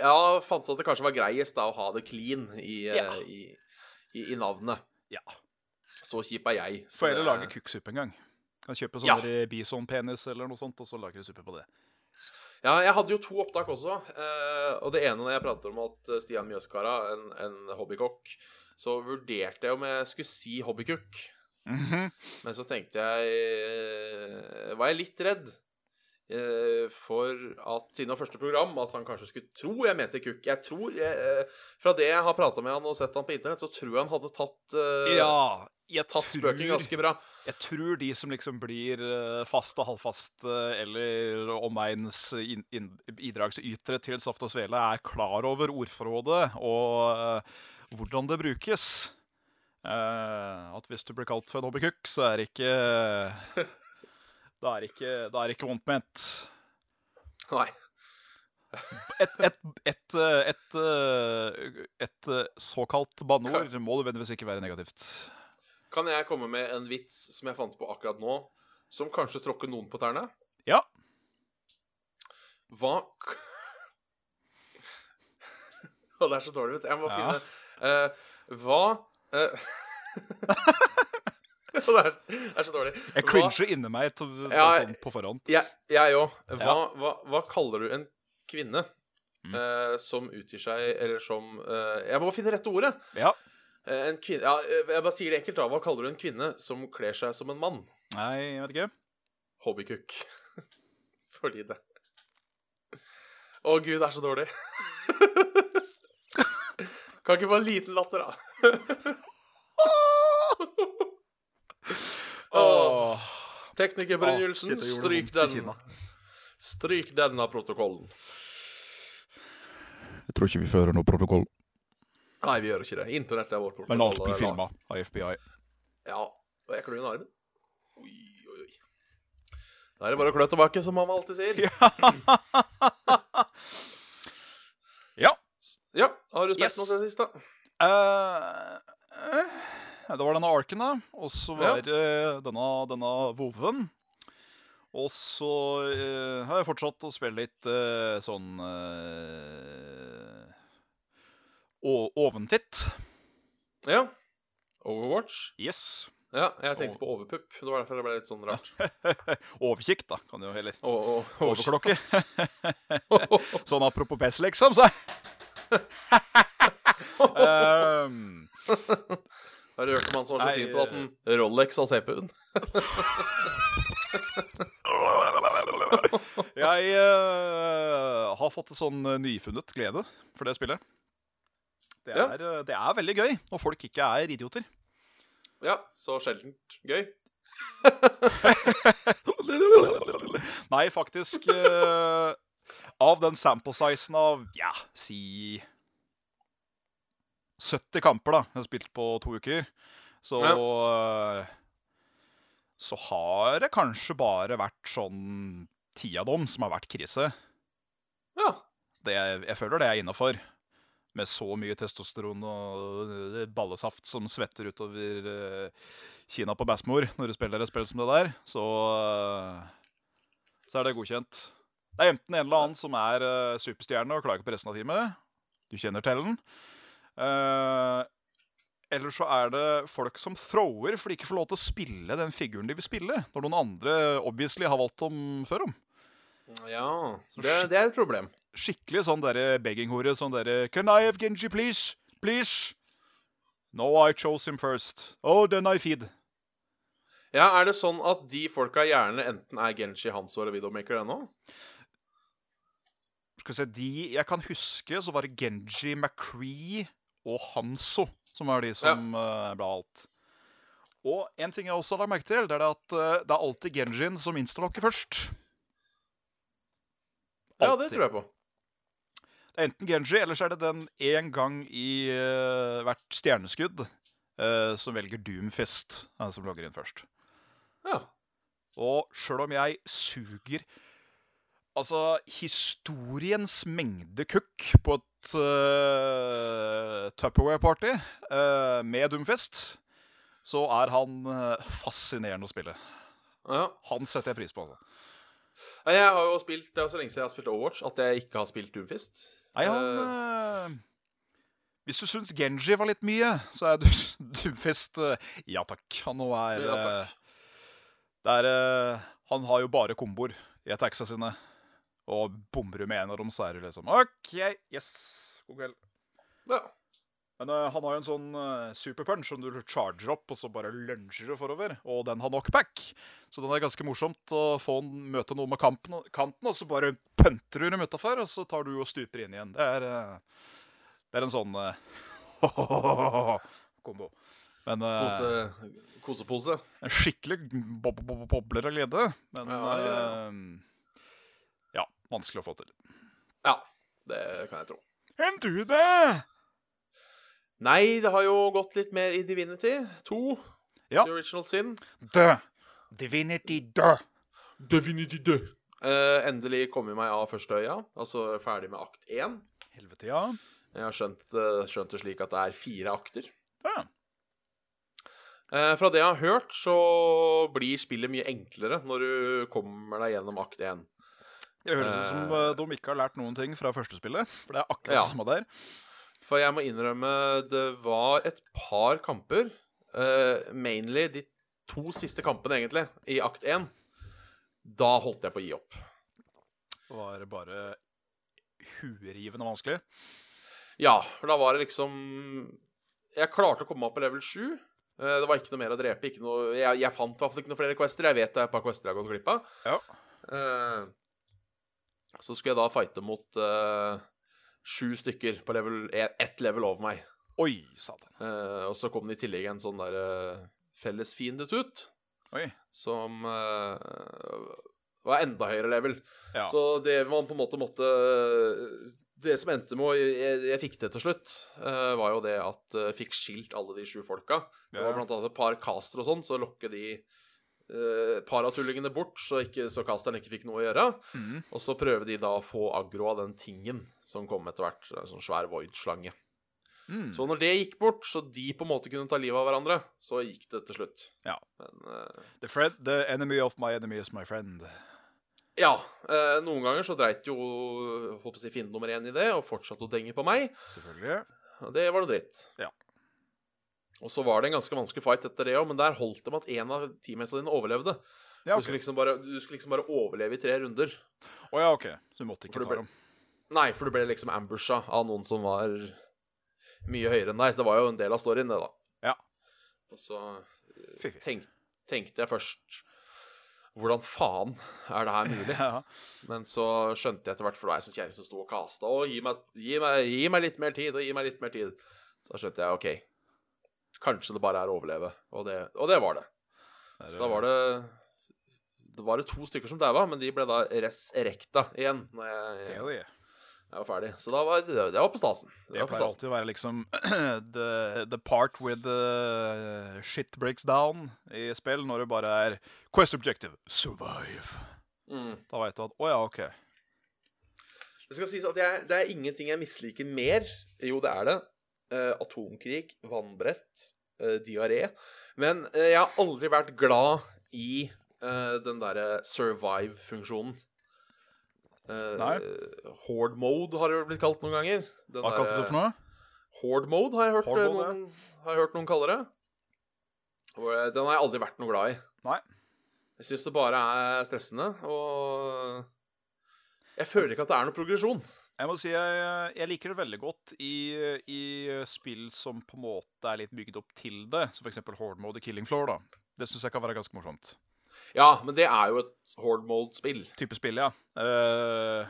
Speaker 2: ja, fant ut at det kanskje var greiest da å ha det clean i, eh,
Speaker 3: Ja.
Speaker 2: i, i, i navnet.
Speaker 3: Ja.
Speaker 2: Så kjip er jeg. så
Speaker 3: Får heller lage
Speaker 2: det-
Speaker 3: kukksuppe en gang. Kan kjøpe
Speaker 2: Ja.
Speaker 3: sånne bisonpenis eller noe sånt, og så lager du suppe på det.
Speaker 2: Ja, jeg hadde jo to opptak også. eh, og det ene når jeg pratet om at eh, Stian Mjøskara, en, en hobbykokk, så vurderte jeg om jeg skulle si hobbykukk.
Speaker 3: Mhm.
Speaker 2: Men så tenkte jeg eh, Var jeg litt redd? eh, for at siden av første program at han kanskje skulle tro jeg mente kukk. Jeg tror jeg, eh, Fra det jeg har prata med han og sett han på internett, så tror jeg han hadde tatt eh,
Speaker 3: Ja, jeg
Speaker 2: Tatt spøken ganske bra.
Speaker 3: Jeg tror de som liksom blir eh, fast og halvfast eh, eller omegns inn- inn- bidragsytere til Saft og Svele, er klar over ordforrådet og eh, hvordan det brukes. Eh, at hvis du blir kalt for en hobbykukk, så er det ikke Da er det ikke, da er det ikke vondt ment.
Speaker 2: Nei.
Speaker 3: Et, et, et, eh, et, eh, et eh, såkalt banneord må nødvendigvis ikke være negativt.
Speaker 2: Kan jeg komme med en vits som jeg fant på akkurat nå, som kanskje tråkker noen på tærne?
Speaker 3: Ja.
Speaker 2: Hva Å, det er så dårlig, vet du. Jeg må
Speaker 3: Ja.
Speaker 2: finne Eh, Hva eh, Å, det, er, det er så dårlig.
Speaker 3: Jeg
Speaker 2: Hva-
Speaker 3: cringer inni meg to,
Speaker 2: Ja,
Speaker 3: sånn på forhånd.
Speaker 2: Jeg- Jeg òg. Hva,
Speaker 3: Ja.
Speaker 2: hva, hva kaller du en kvinne
Speaker 3: Mm.
Speaker 2: eh, som utgir seg Eller som eh, Jeg må bare finne rette ordet.
Speaker 3: Ja.
Speaker 2: Eh, en kvinne, ja, eh, jeg bare sier det enkelt, da. Hva kaller du en kvinne som kler seg som en mann?
Speaker 3: Nei, jeg vet ikke.
Speaker 2: Hobbykukk. Fordi det Å gud, det er så dårlig. kan ikke få en liten latter, da. Åh. Tekniker Brynjulsen,
Speaker 3: Åh, shit, jeg gjorde
Speaker 2: stryk
Speaker 3: vondt i
Speaker 2: den.
Speaker 3: kinna.
Speaker 2: Stryk den av protokollen.
Speaker 3: Jeg tror ikke vi fører noe protokoll.
Speaker 2: Nei, vi gjør ikke det. Internett er vår protokoll.
Speaker 3: Men alt blir
Speaker 2: eller-
Speaker 3: filma av FBI.
Speaker 2: Ja. Og jeg klør i armen. Oi, oi, oi. Da er det bare å klø tilbake, som mamma alltid sier. Ja.
Speaker 3: Ja.
Speaker 2: Har du spilt
Speaker 3: Yes.
Speaker 2: noe siden sist, da?
Speaker 3: eh, eh, det var denne arken, da. Og så
Speaker 2: Ja.
Speaker 3: var det denne, denne voven. Og så eh, har jeg fortsatt å spille litt eh, sånn eh, o- Oventitt.
Speaker 2: Ja. Overwatch?
Speaker 3: Yes.
Speaker 2: Ja, jeg tenkte på overpupp. Det var derfor det ble litt sånn rart.
Speaker 3: Overkikk, da, kan du jo heller.
Speaker 2: Å, å, å,
Speaker 3: Overklokke. Sånn apropos pess, liksom, så um,
Speaker 2: Har du hørt om han som var så
Speaker 3: Nei, eh.
Speaker 2: fin på at en Rolex av CP-en?
Speaker 3: Jeg eh, har fått en sånn eh, nyfunnet glede for det spillet. Det
Speaker 2: Ja.
Speaker 3: er, eh, det er veldig gøy når folk ikke er idioter.
Speaker 2: Ja, så sjeldent gøy.
Speaker 3: Nei, faktisk eh, Av den sample-sizen av ja, si 70 kamper da jeg har spilt på to uker, så eh, Så har det kanskje bare vært sånn ti av dem som har vært krise.
Speaker 2: Ja.
Speaker 3: Det, jeg føler det er innafor. Med så mye testosteron og øh, ballesaft som svetter utover øh, Kina på Bæsmor når du spiller et spill som det der, så øh, Så er det godkjent. Det er enten en eller annen som er øh, superstjerne og klager på resten av teamet. Du kjenner til den. Eh, eller så er det folk som thrower fordi de ikke får lov til å spille den figuren de vil spille, når noen andre obviously har valgt dem før om.
Speaker 2: Ja. Det, det er et problem.
Speaker 3: skikkelig sånn derre begginghore. Sånn derre Can I have Genji, please? Please? No, I chose him first. Oh, then I feed.
Speaker 2: Ja, Er det sånn at de folka gjerne enten er Genshi, Hanso eller Widowmaker ennå?
Speaker 3: Skal vi se, de jeg kan huske, så var det Genji, McCree og Hanso som var de som eh, ble alt. Og en ting jeg også har lagt merke til, det er det at eh, det er alltid Genjin som instalokker først.
Speaker 2: Ja, det
Speaker 3: Alltid.
Speaker 2: tror jeg på.
Speaker 3: Det er enten Genji, eller så er det den én gang i eh, hvert stjerneskudd eh, som velger Doomfist, den som logger inn først.
Speaker 2: Ja.
Speaker 3: Og sjøl om jeg suger Altså, historiens mengde kukk på et øh, Tupperware-party øh, med Doomfest, så er han øh, fascinerende å spille.
Speaker 2: ja.
Speaker 3: Han setter jeg pris på. Altså.
Speaker 2: Nei, Jeg har jo spilt, Det er jo så lenge siden jeg har spilt Overwatch at jeg ikke har spilt Doomfist.
Speaker 3: Nei, han
Speaker 2: Eh,
Speaker 3: øh, Hvis du syns Genji var litt mye, så er du Doomfest øh, Ja takk. Han nå er
Speaker 2: Ja, takk.
Speaker 3: øh, Det er eh, Han har jo bare komboer i attacksa sine. Og bommer du med en av dem, så er du liksom OK, yes. God kveld.
Speaker 2: Eh, ja.
Speaker 3: Men eh, han har jo en sånn eh, superpunch som du charger opp, og så bare lunsjer du forover. Og den har knockback. Så den er ganske morsomt å få en, møte noe med kampen, kanten, og så bare punter du dem utafor, og så tar du og stuper inn igjen. Det er, eh, det er en sånn eh, kombo. Men eh,
Speaker 2: Kose, kosepose.
Speaker 3: en skikkelig bob bob bob- bobler av glede. Men
Speaker 2: Ja, ja, ja.
Speaker 3: eh, ja, vanskelig å få til.
Speaker 2: Ja, det kan jeg tro.
Speaker 3: Enn du det?
Speaker 2: Nei, det har jo gått litt mer i Divinity 2.
Speaker 3: Ja.
Speaker 2: The Original Sin.
Speaker 3: Dø! Divinity dø!
Speaker 1: Definitivt død.
Speaker 2: Eh, endelig kom jeg meg av første øya, altså ferdig med akt 1.
Speaker 3: Helvete, ja.
Speaker 2: Jeg har skjønt, eh, skjønt det slik at det er fire akter.
Speaker 3: ja.
Speaker 2: Eh, fra det jeg har hørt, så blir spillet mye enklere når du kommer deg gjennom akt 1.
Speaker 3: Det høres ut som eh, de ikke har lært noen ting fra første spillet. For det er akkurat
Speaker 2: Ja.
Speaker 3: det samme der.
Speaker 2: For jeg må innrømme, det var et par kamper, eh, mainly de to siste kampene egentlig, i akt 1. Da holdt jeg på å gi opp.
Speaker 3: Det var bare huerivende vanskelig.
Speaker 2: Ja, for da var det liksom Jeg klarte å komme meg opp på level 7. Eh, Det var ikke noe mer å drepe. Ikke noe, jeg, jeg fant i hvert fall ikke noen flere quester. Jeg vet det er et par quester jeg har gått glipp av.
Speaker 3: Ja.
Speaker 2: Eh, Så skulle jeg da fighte mot eh, sju stykker på level, ett level over meg.
Speaker 3: Oi, satan.
Speaker 2: Eh, og så kom det i tillegg en sånn der eh, felles fiendetut,
Speaker 3: Oi.
Speaker 2: som eh, var enda høyere level.
Speaker 3: Ja.
Speaker 2: Så det man på en måte måtte eh, Det som endte med å Jeg, jeg fikk det til slutt, eh, var jo det at jeg fikk skilt alle de sju folka. Det
Speaker 3: Ja.
Speaker 2: var blant annet et par caster og sånn, så lokke de eh, par av tullingene bort, så, ikke, så casteren ikke fikk noe å gjøre.
Speaker 3: Mhm.
Speaker 2: Og så prøver de da å få aggro av den tingen som kom etter hvert. En sånn svær void-slange.
Speaker 3: Mm.
Speaker 2: Så når det gikk bort, så de på en måte kunne ta livet av hverandre, så gikk det til slutt.
Speaker 3: Ja.
Speaker 2: Men eh,
Speaker 3: The, friend, the enemy of my enemy is my friend.
Speaker 2: Ja. Eh, noen ganger så dreit jo håper jeg, å si, fiende nummer én i det, og fortsatte å denge på meg.
Speaker 3: Selvfølgelig.
Speaker 2: Og det var noe dritt.
Speaker 3: Ja.
Speaker 2: Og så var det en ganske vanskelig fight etter det òg, men der holdt det med at én av teammetsene dine overlevde.
Speaker 3: Ja,
Speaker 2: Du, skulle
Speaker 3: ok.
Speaker 2: liksom bare, du skulle liksom bare overleve i tre runder.
Speaker 3: Å ja, OK. Så du måtte
Speaker 2: For
Speaker 3: ikke
Speaker 2: det
Speaker 3: ta
Speaker 2: ble-
Speaker 3: dem.
Speaker 2: Nei, for du ble liksom ambusha av noen som var mye høyere enn deg. Så det var jo en del av storyen, det, da.
Speaker 3: Ja.
Speaker 2: Og så eh,
Speaker 3: Fy, fy.
Speaker 2: tenk, tenkte jeg først Hvordan faen er det her mulig?
Speaker 3: Ja.
Speaker 2: Men så skjønte jeg etter hvert, for det var jeg som kjerring som sto og kasta, og gi meg, gi, meg, gi meg litt mer tid, og gi meg litt mer tid. Så skjønte jeg, OK, kanskje det bare er å overleve. Og det, og det var det. Så da var det Det var det to stykker som daua, men de ble da res erecta igjen når jeg,
Speaker 3: Hell yeah.
Speaker 2: jeg var ferdig. Så da var det, det var på stasen. Det
Speaker 3: Det
Speaker 2: var på
Speaker 3: pleier
Speaker 2: stasen.
Speaker 3: alltid å være liksom the, the part with the shit breaks down i spill, når det bare er Quest objective survive.
Speaker 2: Mm.
Speaker 3: Da veit du at Å ja, OK.
Speaker 2: Det skal sies at jeg, det er ingenting jeg misliker mer. Jo, det er det. Eh, atomkrig, vannbrett, eh, diaré. Men eh, jeg har aldri vært glad i eh, den derre survive-funksjonen. Eh,
Speaker 3: Nei.
Speaker 2: Horde mode har det vel blitt kalt noen ganger. Den
Speaker 3: Hva kalte du det for noe?
Speaker 2: Horde mode har jeg hørt,
Speaker 3: Horde
Speaker 2: eh,
Speaker 3: mode,
Speaker 2: noen, har jeg hørt noen kalle det. Og, eh, Den har jeg aldri vært noe glad i.
Speaker 3: Nei.
Speaker 2: Jeg syns det bare er stressende, og jeg føler ikke at det er noe progresjon.
Speaker 3: Jeg må si jeg, jeg liker det veldig godt i, i spill som på en måte er litt bygd opp til det, som f.eks. Horde Mode i Killing Floor. da. Det syns jeg kan være ganske morsomt.
Speaker 2: Ja, men det er jo et horde mode-spill.
Speaker 3: Type spill, ja. Eh,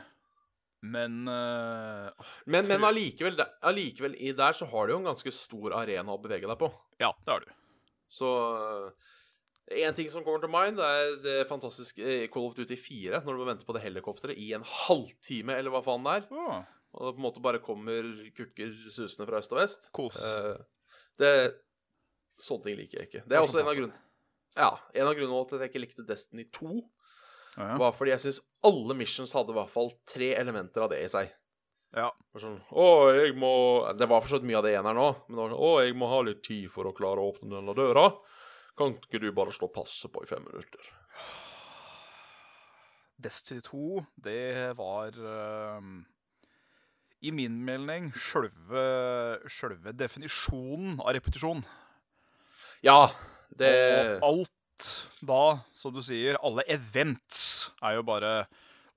Speaker 3: men eh,
Speaker 2: Men, men allikevel, der- allikevel, i der så har du jo en ganske stor arena å bevege deg på.
Speaker 3: Ja, det har du.
Speaker 2: Så én ting som kommer til mind, det er det fantastiske eh, Call of Duty 4, når du må vente på det helikopteret i en halvtime, eller hva faen det er.
Speaker 3: Å,
Speaker 2: Og det på en måte bare kommer kukker susende fra øst og vest.
Speaker 3: kos.
Speaker 2: Eh, Det Sånne ting liker jeg ikke. Det er også en av grunnene ja, en av grunnene til at jeg ikke likte Destiny 2,
Speaker 3: Ja, ja.
Speaker 2: var fordi jeg syns alle missions hadde i hvert fall tre elementer av det i seg.
Speaker 3: ja.
Speaker 2: var sånn, å, jeg må Det var for så vidt mye av det igjen her nå. Men det var sånn, å, jeg må ha litt tid for å klare å åpne denne døra. Kan ikke du bare slå passe på i fem minutter?
Speaker 3: Destiny 2, det var ehm, i min melding sjølve, sjølve definisjonen av repetisjon.
Speaker 2: Ja, det
Speaker 3: Og alt da, som du sier, alle events er jo bare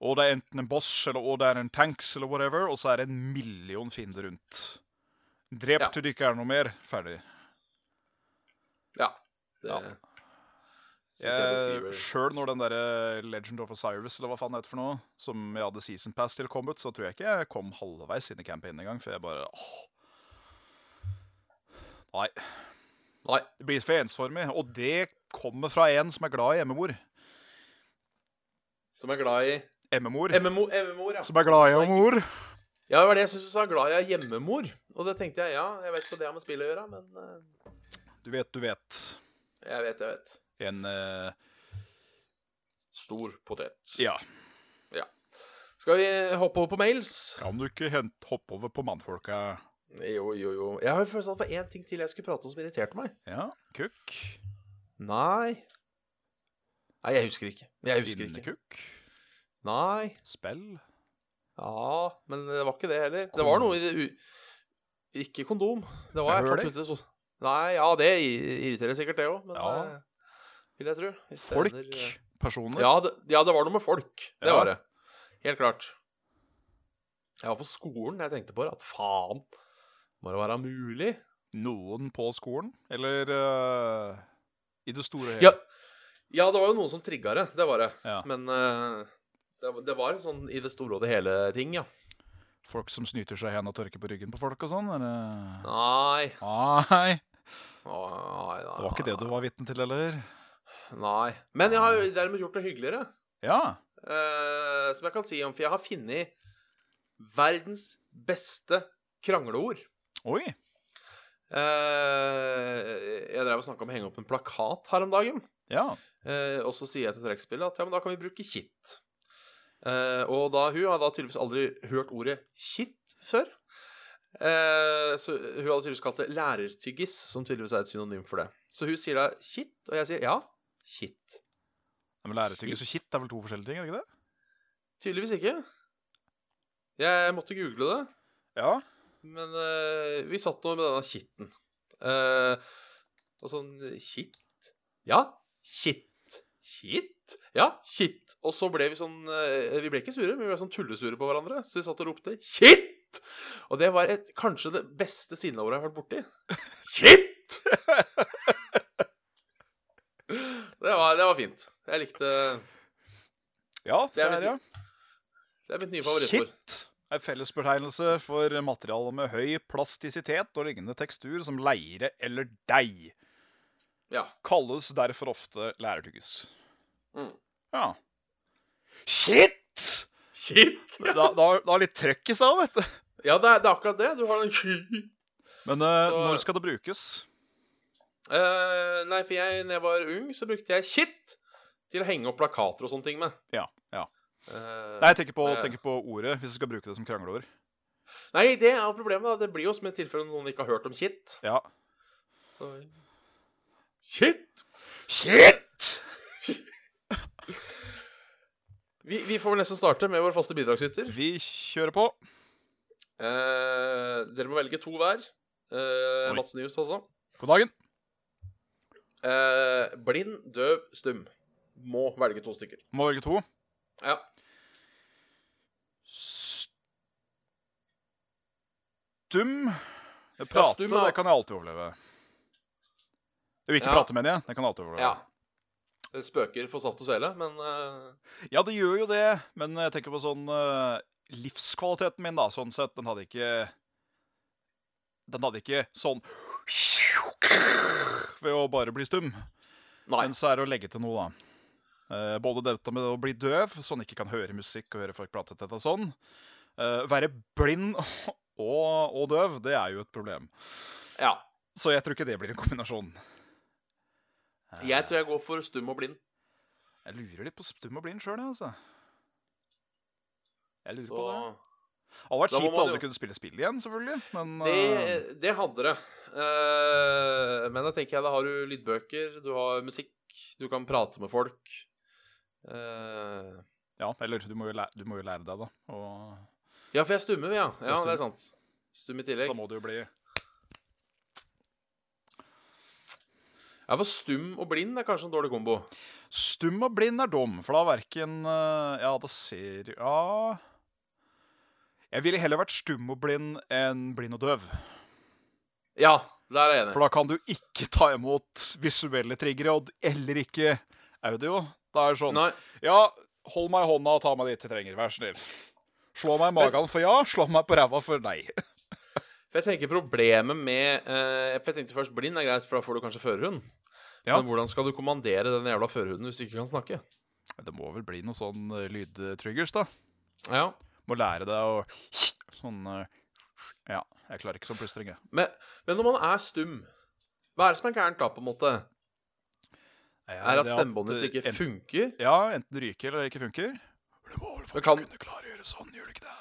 Speaker 3: Å, det er enten en boss, eller å, det er en tanks, eller whatever, og så er det en million fiender rundt. Drep
Speaker 2: Ja.
Speaker 3: til det ikke er noe mer. Ferdig.
Speaker 2: Ja. Det
Speaker 3: Ja.
Speaker 2: synes jeg beskriver
Speaker 3: Jeg, selv når den der eh, Legend of Osiris eller hva faen det heter for noe, som jeg hadde season pass til kom ut, så tror jeg ikke jeg kom halvveis inn i campaignen engang, for jeg bare åh. Nei.
Speaker 2: Nei.
Speaker 3: Det blir for ensformig, og det kommer fra en som er glad i MMO-er.
Speaker 2: Som er glad i
Speaker 3: MMO-er.
Speaker 2: MMO, MMO-er, ja.
Speaker 3: Som er glad i
Speaker 2: Så-
Speaker 3: MMO-er.
Speaker 2: Ja, det var det jeg syns du sa. Glad jeg er hjemmemor. Og det tenkte jeg, ja, jeg vet ikke hva det har med spill å gjøre, men eh,
Speaker 3: Du vet, du vet.
Speaker 2: jeg vet, jeg vet.
Speaker 3: En eh,
Speaker 2: Stor potet.
Speaker 3: Ja.
Speaker 2: Skal vi hoppe over på mails?
Speaker 3: Kan du ikke hent, hoppe over på mannfolka?
Speaker 2: Jo, jo, jo. Jeg har jo følelsen av at det var én ting til jeg skulle prate om som irriterte meg.
Speaker 3: Ja. Kukk.
Speaker 2: Nei. Nei, jeg husker ikke. Jeg husker ikke.
Speaker 3: Innekukk.
Speaker 2: Nei.
Speaker 3: Spill.
Speaker 2: Ja, men det var ikke det heller. Det var noe i det u... Ikke kondom. Det var
Speaker 3: Høler?
Speaker 2: jeg fant ut det så... Nei, ja, det i- irriterer sikkert det òg, men
Speaker 3: Ja.
Speaker 2: eh, vil jeg tro. Hvis det
Speaker 3: Folk.
Speaker 2: ender, eh,
Speaker 3: Personer.
Speaker 2: Ja det, ja, det var noe med folk. Det
Speaker 3: Ja.
Speaker 2: var det. Helt klart. Jeg var på skolen da jeg tenkte på det, at faen, må det være mulig?
Speaker 3: noen på skolen, eller eh, i det store og hele?
Speaker 2: Ja, ja det var jo noen som trigga det. Det var det.
Speaker 3: Ja.
Speaker 2: Men eh, det, det var en sånn i det store og det hele ting, ja.
Speaker 3: Folk som snyter seg hen og tørker på ryggen på folk og sånn? Eller?
Speaker 2: Nei. Nei,
Speaker 3: Nei,
Speaker 2: nei,
Speaker 3: det var ikke det du var vitne til, eller?
Speaker 2: Nei. Men jeg har jo dermed gjort det hyggeligere,
Speaker 3: Ja.
Speaker 2: eh, som jeg kan si om, for jeg har funnet verdens beste krangleord.
Speaker 3: Oi.
Speaker 2: Eh, jeg drev og snakka om å henge opp en plakat her om dagen.
Speaker 3: Ja.
Speaker 2: Eh, og så sier jeg til trekkspillet at ja, men da kan vi bruke kitt. Eh, og da, hun har da tydeligvis aldri hørt ordet kitt før. Eh, så hun hadde tydeligvis kalt det lærertyggis, som tydeligvis er et synonym for det. Så hun sier da kitt, og jeg sier ja, kitt.
Speaker 3: Men læretyggis og kitt er vel to forskjellige ting, er det ikke det?
Speaker 2: Tydeligvis ikke. Jeg måtte google det.
Speaker 3: Ja.
Speaker 2: Men eh, vi satt nå med denne kitten. Eh, og sånn Kitt? Ja, kitt. Kitt? Ja, kitt. Og så ble vi sånn eh, Vi ble ikke sure, men vi ble sånn tullesure på hverandre. Så vi satt og ropte 'kitt'! Og det var et, kanskje det beste sinneordet jeg har vært borti. Kitt! Det var, det var fint. Jeg likte
Speaker 3: Ja,
Speaker 2: Det
Speaker 3: det
Speaker 2: er
Speaker 3: er det, ja.
Speaker 2: Det er mitt nye favorittord.
Speaker 3: Kitt er fellesbetegnelse for materiale med høy plastisitet og lignende tekstur som leire eller deig.
Speaker 2: Ja.
Speaker 3: Kalles derfor ofte lærertyggis.
Speaker 2: Mm.
Speaker 3: Ja. Shit!
Speaker 2: Kitt!
Speaker 3: Det har det har litt trøkk i seg òg, vet du.
Speaker 2: Ja, det er, det er akkurat det. Du har den kitt.
Speaker 3: Men eh,
Speaker 2: Så-
Speaker 3: når skal det brukes?
Speaker 2: Eh, nei, for jeg, når jeg var ung, så brukte jeg kitt til å henge opp plakater og sånne ting med.
Speaker 3: Ja. ja.
Speaker 2: Eh,
Speaker 3: Nei, jeg tenker på,
Speaker 2: eh.
Speaker 3: tenker på ordet, hvis du skal bruke det som krangleord.
Speaker 2: nei, det er jo problemet. da. Det blir jo som i tilfelle noen ikke har hørt om kitt.
Speaker 3: Ja.
Speaker 2: Så- Kitt!
Speaker 3: Shit!
Speaker 2: Vi, vi får vel nesten starte med vår faste bidragsyter.
Speaker 3: Vi kjører på.
Speaker 2: Eh, dere må velge to hver. Eh,
Speaker 3: Oi.
Speaker 2: Mats Nyhus, altså.
Speaker 3: God dagen.
Speaker 2: Eh, blind, døv, stum. Må velge to stykker.
Speaker 3: Må velge to.
Speaker 2: Ja.
Speaker 3: Stum Jeg
Speaker 2: Ja,
Speaker 3: Prate,
Speaker 2: stum, ja.
Speaker 3: det kan jeg alltid overleve. Det vil ikke
Speaker 2: Ja.
Speaker 3: prate, mener jeg. Det kan jeg alltid overleve.
Speaker 2: ja. Det spøker for saft og svele, men eh,
Speaker 3: Ja, det gjør jo det, men jeg tenker på sånn eh, Livskvaliteten min, da, sånn sett, den hadde ikke Den hadde ikke sånn Ved å bare bli stum.
Speaker 2: Nei.
Speaker 3: Men så er det å legge til noe, da. Eh, både dette med å bli døv, så han ikke kan høre musikk og høre folk prate til deg og sånn. Eh, være blind og, og døv, det er jo et problem.
Speaker 2: Ja.
Speaker 3: Så jeg tror ikke det blir en kombinasjon. Eh,
Speaker 2: Jeg tror jeg går for stum og blind.
Speaker 3: jeg lurer litt på stum og blind sjøl, jeg, altså. Jeg lurer på det.
Speaker 2: Så
Speaker 3: Det hadde vært
Speaker 2: Da må
Speaker 3: kjipt å
Speaker 2: man
Speaker 3: aldri
Speaker 2: jo-
Speaker 3: kunne spille spill igjen, selvfølgelig. Men eh,
Speaker 2: Det, det hadde det. Eh, men da tenker jeg da har du lydbøker, du har musikk, du kan prate med folk. Eh,
Speaker 3: ja, eller du må, jo lære, du må jo lære deg, da. Og
Speaker 2: ja, for jeg stummer, ja.
Speaker 3: er
Speaker 2: ja
Speaker 3: stum.
Speaker 2: det er sant. Stum i tillegg.
Speaker 3: da må du jo bli
Speaker 2: Jeg var stum og blind er kanskje en dårlig kombo.
Speaker 3: Stum og blind er dum, for da verken eh, Ja, da ser Ja Jeg ville heller vært stum og blind enn blind og døv.
Speaker 2: Ja, der er jeg enig.
Speaker 3: For da kan du ikke ta imot visuelle triggere, og eller ikke audio. Da er det sånn
Speaker 2: Nei.
Speaker 3: Ja, hold meg i hånda og ta meg dit jeg trenger, vær så snill. Slå meg i magen for ja, slå meg på ræva for nei.
Speaker 2: For jeg tenker problemet med eh, For jeg tenkte først blind er greit, for da får du kanskje førerhund.
Speaker 3: Ja.
Speaker 2: Men hvordan skal du kommandere den jævla førerhunden hvis du ikke kan snakke?
Speaker 3: Det må vel bli noe sånn eh, lydtryggers, da.
Speaker 2: Ja.
Speaker 3: Må lære deg å Sånn eh, Ja, jeg klarer ikke sånn plystring, jeg.
Speaker 2: Men, men når man er stum, hva er det som er gærent da, på en måte?
Speaker 3: Er
Speaker 2: Er at
Speaker 3: eh,
Speaker 2: stemmebåndet ditt ikke funker?
Speaker 3: Ja, enten det ryker eller ikke funker. Du må vel
Speaker 2: Det kan-
Speaker 3: faktisk kunne klare å gjøre sånn, gjør du ikke det?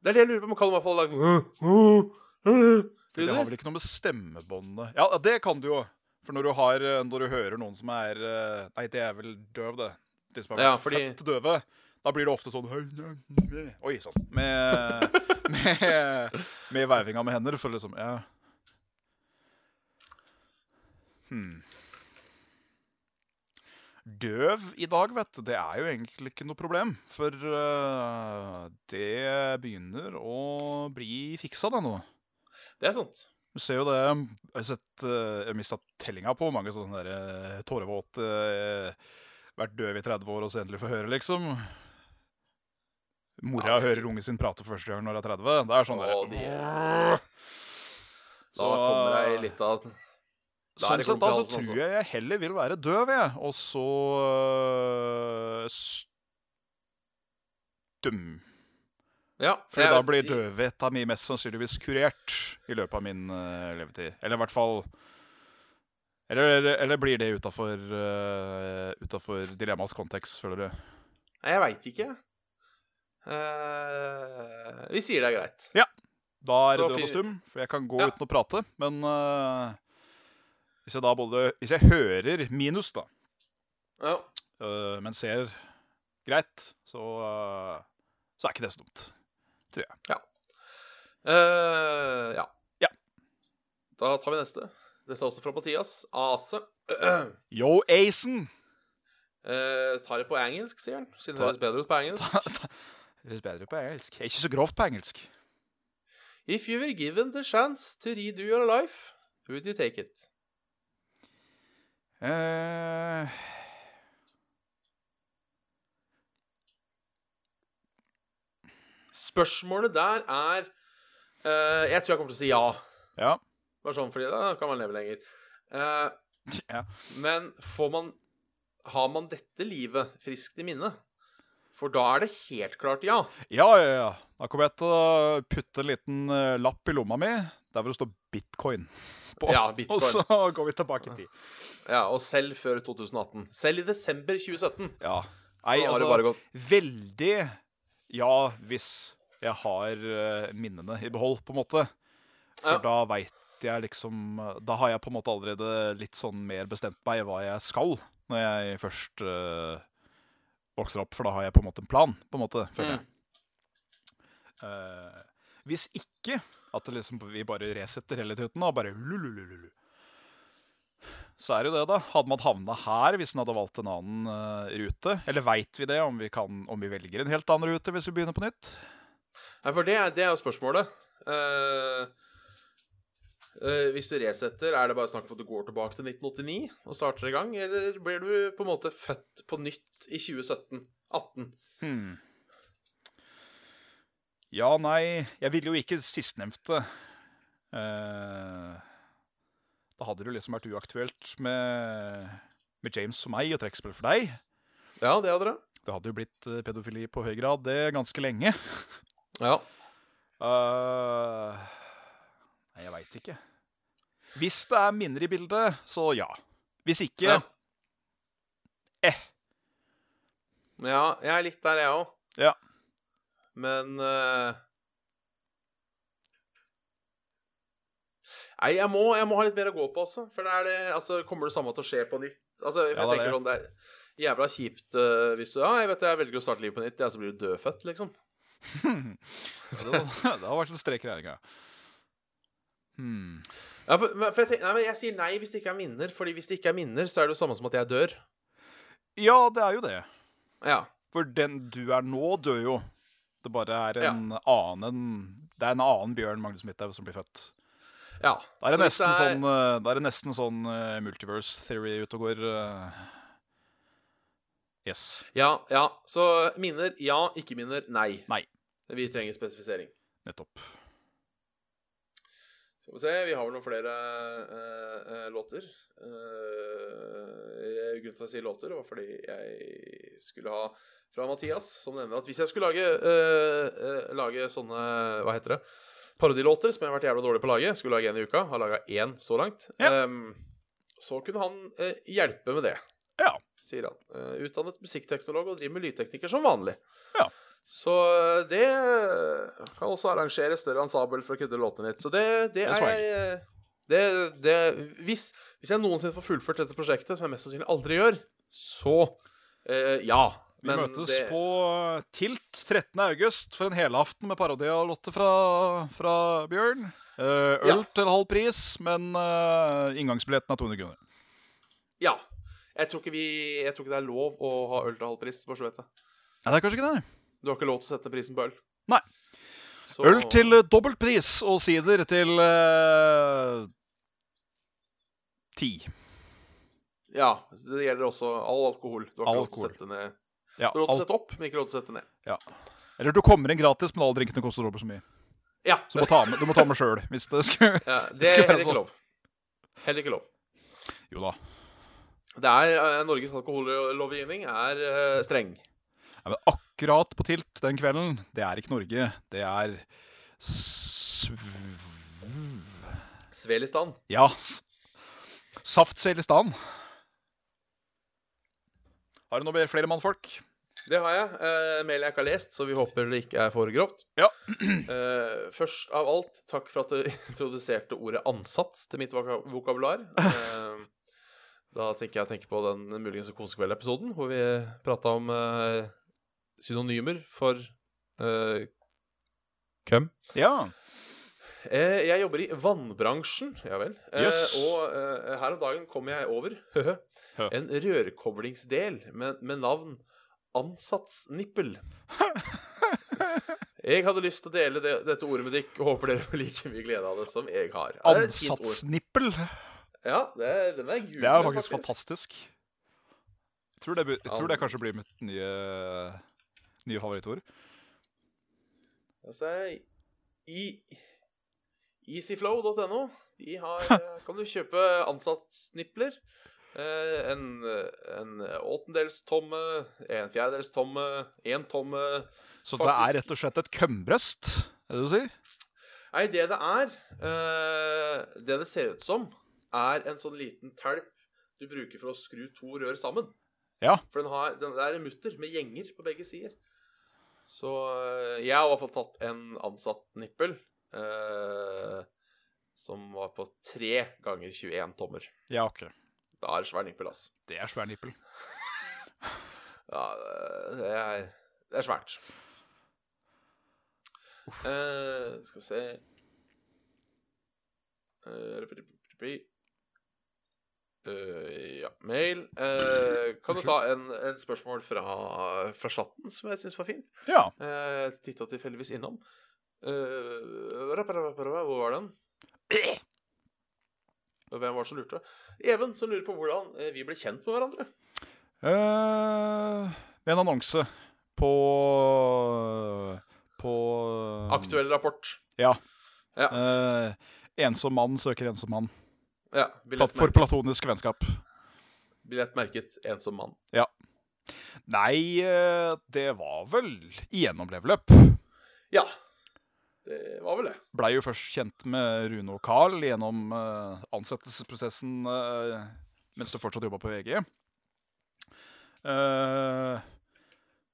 Speaker 2: Det er det jeg lurer på. Man kan i hvert fall lage sånn
Speaker 3: Det har
Speaker 2: Lyder.
Speaker 3: vel ikke noe med stemmebåndet Ja, det kan du jo. For når du, har, eh, når du hører noen som er eh, Nei, det er vel døv, det. De som er
Speaker 2: Ja,
Speaker 3: vært
Speaker 2: fordi-
Speaker 3: født døve. Da blir det ofte sånn «Hei, ja, mm, eh». Oi sånn. Med, med, med veivinga med hender, for liksom Ja. Hmm. Døv i dag, vet du, det er jo egentlig ikke noe problem. For eh, det begynner å bli fiksa, da, nå.
Speaker 2: Det er sant.
Speaker 3: Du ser jo det Jeg har sett, eh, jeg mista tellinga på mange sånne der, eh, tårevåte eh, Vært døv i 30 år og så endelig få høre, liksom. Mora hører ungen sin prate for første gang når hun er 30. Det er
Speaker 2: Å,
Speaker 3: sånn der,
Speaker 2: de- Da kommer jeg litt av Da er
Speaker 3: Sånn
Speaker 2: det
Speaker 3: sett
Speaker 2: klump i
Speaker 3: da så
Speaker 2: halsen, altså.
Speaker 3: tror jeg jeg heller vil være døv, jeg. Og så øh, stum.
Speaker 2: Ja.
Speaker 3: For
Speaker 2: jeg-
Speaker 3: da blir døvheten min mest sannsynligvis kurert i løpet av min øh, levetid. Eller i hvert fall Eller, eller, eller blir det utafor uh, dilemmas kontekst, føler du?
Speaker 2: Nei, Jeg veit ikke. Eh, vi sier det er greit.
Speaker 3: Da er det
Speaker 2: Så
Speaker 3: døv og
Speaker 2: fin-
Speaker 3: stum, for jeg kan gå
Speaker 2: Ja.
Speaker 3: uten å prate. Men øh, hvis jeg da både Hvis jeg hører minus, da,
Speaker 2: Ja.
Speaker 3: øh, men ser greit, så, øh, så er ikke det så dumt.
Speaker 2: Eh, ja.
Speaker 3: Ja.
Speaker 2: Da tar vi neste. Dette er også fra Mathias. Ase.
Speaker 3: Yo, Asen!
Speaker 2: Eh, tar det på engelsk, sier han. Siden det
Speaker 3: Ta-
Speaker 2: høres bedre ut på engelsk.
Speaker 3: Høres bedre på engelsk. Jeg er ikke så grovt på engelsk.
Speaker 2: If you were given the chance to redo your life, would you take it?
Speaker 3: Eh,
Speaker 2: Spørsmålet der er eh, Jeg tror jeg kommer til å si ja.
Speaker 3: ja.
Speaker 2: Bare sånn fordi da kan man leve lenger. Eh,
Speaker 3: ja.
Speaker 2: Men får man Har man dette livet friskt i minne? For da er det helt klart ja.
Speaker 3: Ja, ja, ja. Da kommer jeg til å putte en liten eh, lapp i lomma mi, der hvor det står bitcoin. På.
Speaker 2: Ja, bitcoin.
Speaker 3: Og så går vi tilbake i tid.
Speaker 2: Ja, Og selv før 2018. Selv i desember 2017.
Speaker 3: Ja. Nei,
Speaker 2: Så har det bare
Speaker 3: altså,
Speaker 2: gått.
Speaker 3: veldig ja hvis jeg har eh, minnene i behold, på en måte. For
Speaker 2: Ja.
Speaker 3: da veit jeg liksom eh, Da har jeg på en måte allerede litt sånn mer bestemt meg hva jeg skal når jeg først eh, vokser opp, for da har jeg på en måte en plan, på en måte, føler jeg. Eh, hvis ikke at det liksom, vi bare resetter hele tuten og bare lululululu. Så er det jo det, da. Hadde man havna her hvis en hadde valgt en annen eh, rute? Eller veit vi det, om vi, kan, om vi velger en helt annen rute hvis vi begynner på nytt?
Speaker 2: Nei, for det er, det er jo spørsmålet. Eh, eh, hvis du resetter, er det bare snakk om at du går tilbake til 1989 og starter i gang? Eller blir du på en måte født på nytt i 2017? 18?
Speaker 3: Hmm. Ja, nei Jeg ville jo ikke sistnevnte. Eh, da hadde det jo liksom vært uaktuelt med, med James og meg og trekkspill for deg.
Speaker 2: Ja, det hadde det.
Speaker 3: Det hadde jo blitt eh, pedofili på høy grad, det, ganske lenge.
Speaker 2: Ja.
Speaker 3: Eh, nei, jeg veit ikke. Hvis det er minner i bildet, så ja. Hvis ikke
Speaker 2: Ja.
Speaker 3: Eh.
Speaker 2: ja, jeg er litt der, jeg òg.
Speaker 3: Ja.
Speaker 2: Men eh, Nei, jeg må, jeg må ha litt mer å gå på, altså. For det er det, altså, kommer det samme til å skje på nytt? Altså, for
Speaker 3: Ja,
Speaker 2: jeg
Speaker 3: det er
Speaker 2: tenker sånn, det er jævla kjipt eh, hvis du Ja, jeg vet det, jeg velger å starte livet på nytt, ja, så blir du dødfødt, liksom.
Speaker 3: så Det hadde vært en strek i regninga. Hmm.
Speaker 2: Ja, for, men- for jeg, tenker, nei, men jeg sier nei hvis det ikke er minner, Fordi hvis det ikke er minner, så er det jo samme som at jeg dør.
Speaker 3: Ja, det er jo det.
Speaker 2: Ja.
Speaker 3: For den du er nå, dør jo. Det bare er en annen Det er en annen Bjørn Magnus Midthaug som blir født.
Speaker 2: Ja.
Speaker 3: Da er
Speaker 2: så
Speaker 3: det,
Speaker 2: hvis
Speaker 3: nesten
Speaker 2: det er-
Speaker 3: sånn, eh, da er det nesten sånn eh, multiverse theory ute og går. eh. Yes.
Speaker 2: Ja, ja. Så minner ja, ikke minner nei.
Speaker 3: Nei.
Speaker 2: Vi trenger spesifisering.
Speaker 3: Nettopp.
Speaker 2: Skal vi se, vi har vel noen flere eh, eh, låter. Eh, grunnen til å si låter var fordi jeg skulle ha fra Mathias, som nevner at hvis jeg skulle lage, eh, eh, lage sånne Hva heter det? Parodilåter, som jeg har vært jævla dårlig på å lage. Skulle lage én i uka. Har laga én så langt.
Speaker 3: Ja.
Speaker 2: Ehm, så kunne han eh, hjelpe med det,
Speaker 3: Ja.
Speaker 2: sier han. Eh, utdannet musikkteknolog og driver med lydteknikker som vanlig.
Speaker 3: Ja.
Speaker 2: Så eh, det kan også arrangere større ensembel for å kunne låtene litt. Så det, det
Speaker 3: er
Speaker 2: er
Speaker 3: swag.
Speaker 2: jeg eh, det, det, hvis, hvis jeg noensinne får fullført dette prosjektet, som jeg mest sannsynlig aldri gjør, så eh, ja.
Speaker 3: Vi møtes på eh, Tilt 13. august for en helaften med parodi av Lotte fra, fra Bjørn. Eh, øl
Speaker 2: Ja.
Speaker 3: til halv pris, men eh, inngangsbilletten er 200 kroner.
Speaker 2: Ja. Jeg tror, ikke vi, jeg tror ikke det er lov å ha øl til halv pris. Bare så du vet det.
Speaker 3: Nei, det er kanskje ikke det.
Speaker 2: Du har ikke lov til å sette prisen på øl.
Speaker 3: Nei.
Speaker 2: Så-
Speaker 3: Øl til eh, dobbelt pris og sider til eh, ti.
Speaker 2: Ja. Det gjelder også all alkohol. Du har ikke
Speaker 3: All
Speaker 2: lov til å
Speaker 3: alkohol.
Speaker 2: sette ned
Speaker 3: Ja,
Speaker 2: Du har lov til å
Speaker 3: alt,
Speaker 2: sette opp, men ikke lov til å sette ned.
Speaker 3: ja. Eller du kommer inn gratis, men alle drinkene koster dobbelt så mye.
Speaker 2: Ja.
Speaker 3: Så du må ta med, du må ta med sjøl hvis det skulle
Speaker 2: ja det er
Speaker 3: skulle være
Speaker 2: heller ikke
Speaker 3: sånn.
Speaker 2: lov. Heller ikke lov.
Speaker 3: Jo da.
Speaker 2: Det er, eh, Norges alkohollovgivning er eh, streng.
Speaker 3: Nei, men akkurat på Tilt den kvelden, det er ikke Norge. Det er sv...
Speaker 2: Svelistan.
Speaker 3: Ja. s- Saftselistan. Har du noe med flere mannfolk?
Speaker 2: Det har jeg. Eh, mail jeg ikke har lest, så vi håper det ikke er for grovt.
Speaker 3: Ja.
Speaker 2: Eh, først av alt, takk for at du introduserte ordet 'ansats' til mitt voka- vokabular. Eh, da tenker jeg å tenke på den muligens Kosekveld-episoden, hvor vi prata om eh, synonymer for eh, Køm.
Speaker 3: Ja.
Speaker 2: Eh, jeg jobber i vannbransjen, ja vel. Eh,
Speaker 3: Jøss.
Speaker 2: Og eh, her om dagen kom jeg over
Speaker 3: Hø.
Speaker 2: en rørkoblingsdel med, med navn Ansattsnippel. Jeg hadde lyst til å dele det, dette ordet med dere og håper dere får like mye glede av det som jeg har. Ja, det er et fint ord.
Speaker 3: Ansatsnippel.
Speaker 2: Ja, det er, den er gul.
Speaker 3: Det er jo faktisk fantastisk. Jeg tror det, bu- jeg tror det kanskje blir mitt nye, nye favorittord.
Speaker 2: Altså, i Easyflow.no De har, eh, kan du kjøpe ansattsnipler. Eh, en, en åttendels tomme, en fjerdedels tomme, en tomme
Speaker 3: Så det
Speaker 2: Faktisk.
Speaker 3: er rett og slett et kømbrøst, er det du sier?
Speaker 2: Nei, det det er eh, Det det ser ut som, er en sånn liten telp du bruker for å skru to rør sammen.
Speaker 3: Ja.
Speaker 2: For den har, den, det er en mutter med gjenger på begge sider. Så eh, jeg har i hvert fall tatt en ansatt nippel eh, som var på 3 ganger 21 tommer.
Speaker 3: Ja, ok.
Speaker 2: Da er det svær nippel, ass.
Speaker 3: Det er svær nippel.
Speaker 2: Ja, det er, det er svært. Eh, skal vi se Eh, rup, rup, rup, rup. Eh, Ja, mail. Eh, kan du ta en, en spørsmål fra, fra chatten, som jeg syns var fint?
Speaker 3: Ja.
Speaker 2: Uh, Titta tilfeldigvis innom. Eh, rap, rap, rap, rap, hvor var den? Og Hvem var det som lurte? Even, som lurer på hvordan eh, vi ble kjent med hverandre.
Speaker 3: Eh, Med en annonse på På
Speaker 2: Aktuell rapport.
Speaker 3: Ja.
Speaker 2: Ja.
Speaker 3: Eh, ensom mann søker ensom mann.
Speaker 2: Ja,
Speaker 3: Plat- For platonisk vennskap.
Speaker 2: Billett merket ensom mann.
Speaker 3: Nei, eh, det var vel igjennom leveløp.
Speaker 2: Ja. Det var vel det.
Speaker 3: Blei jo først kjent med Rune og Carl gjennom eh, ansettelsesprosessen eh, mens du fortsatt jobba på VG. Eh,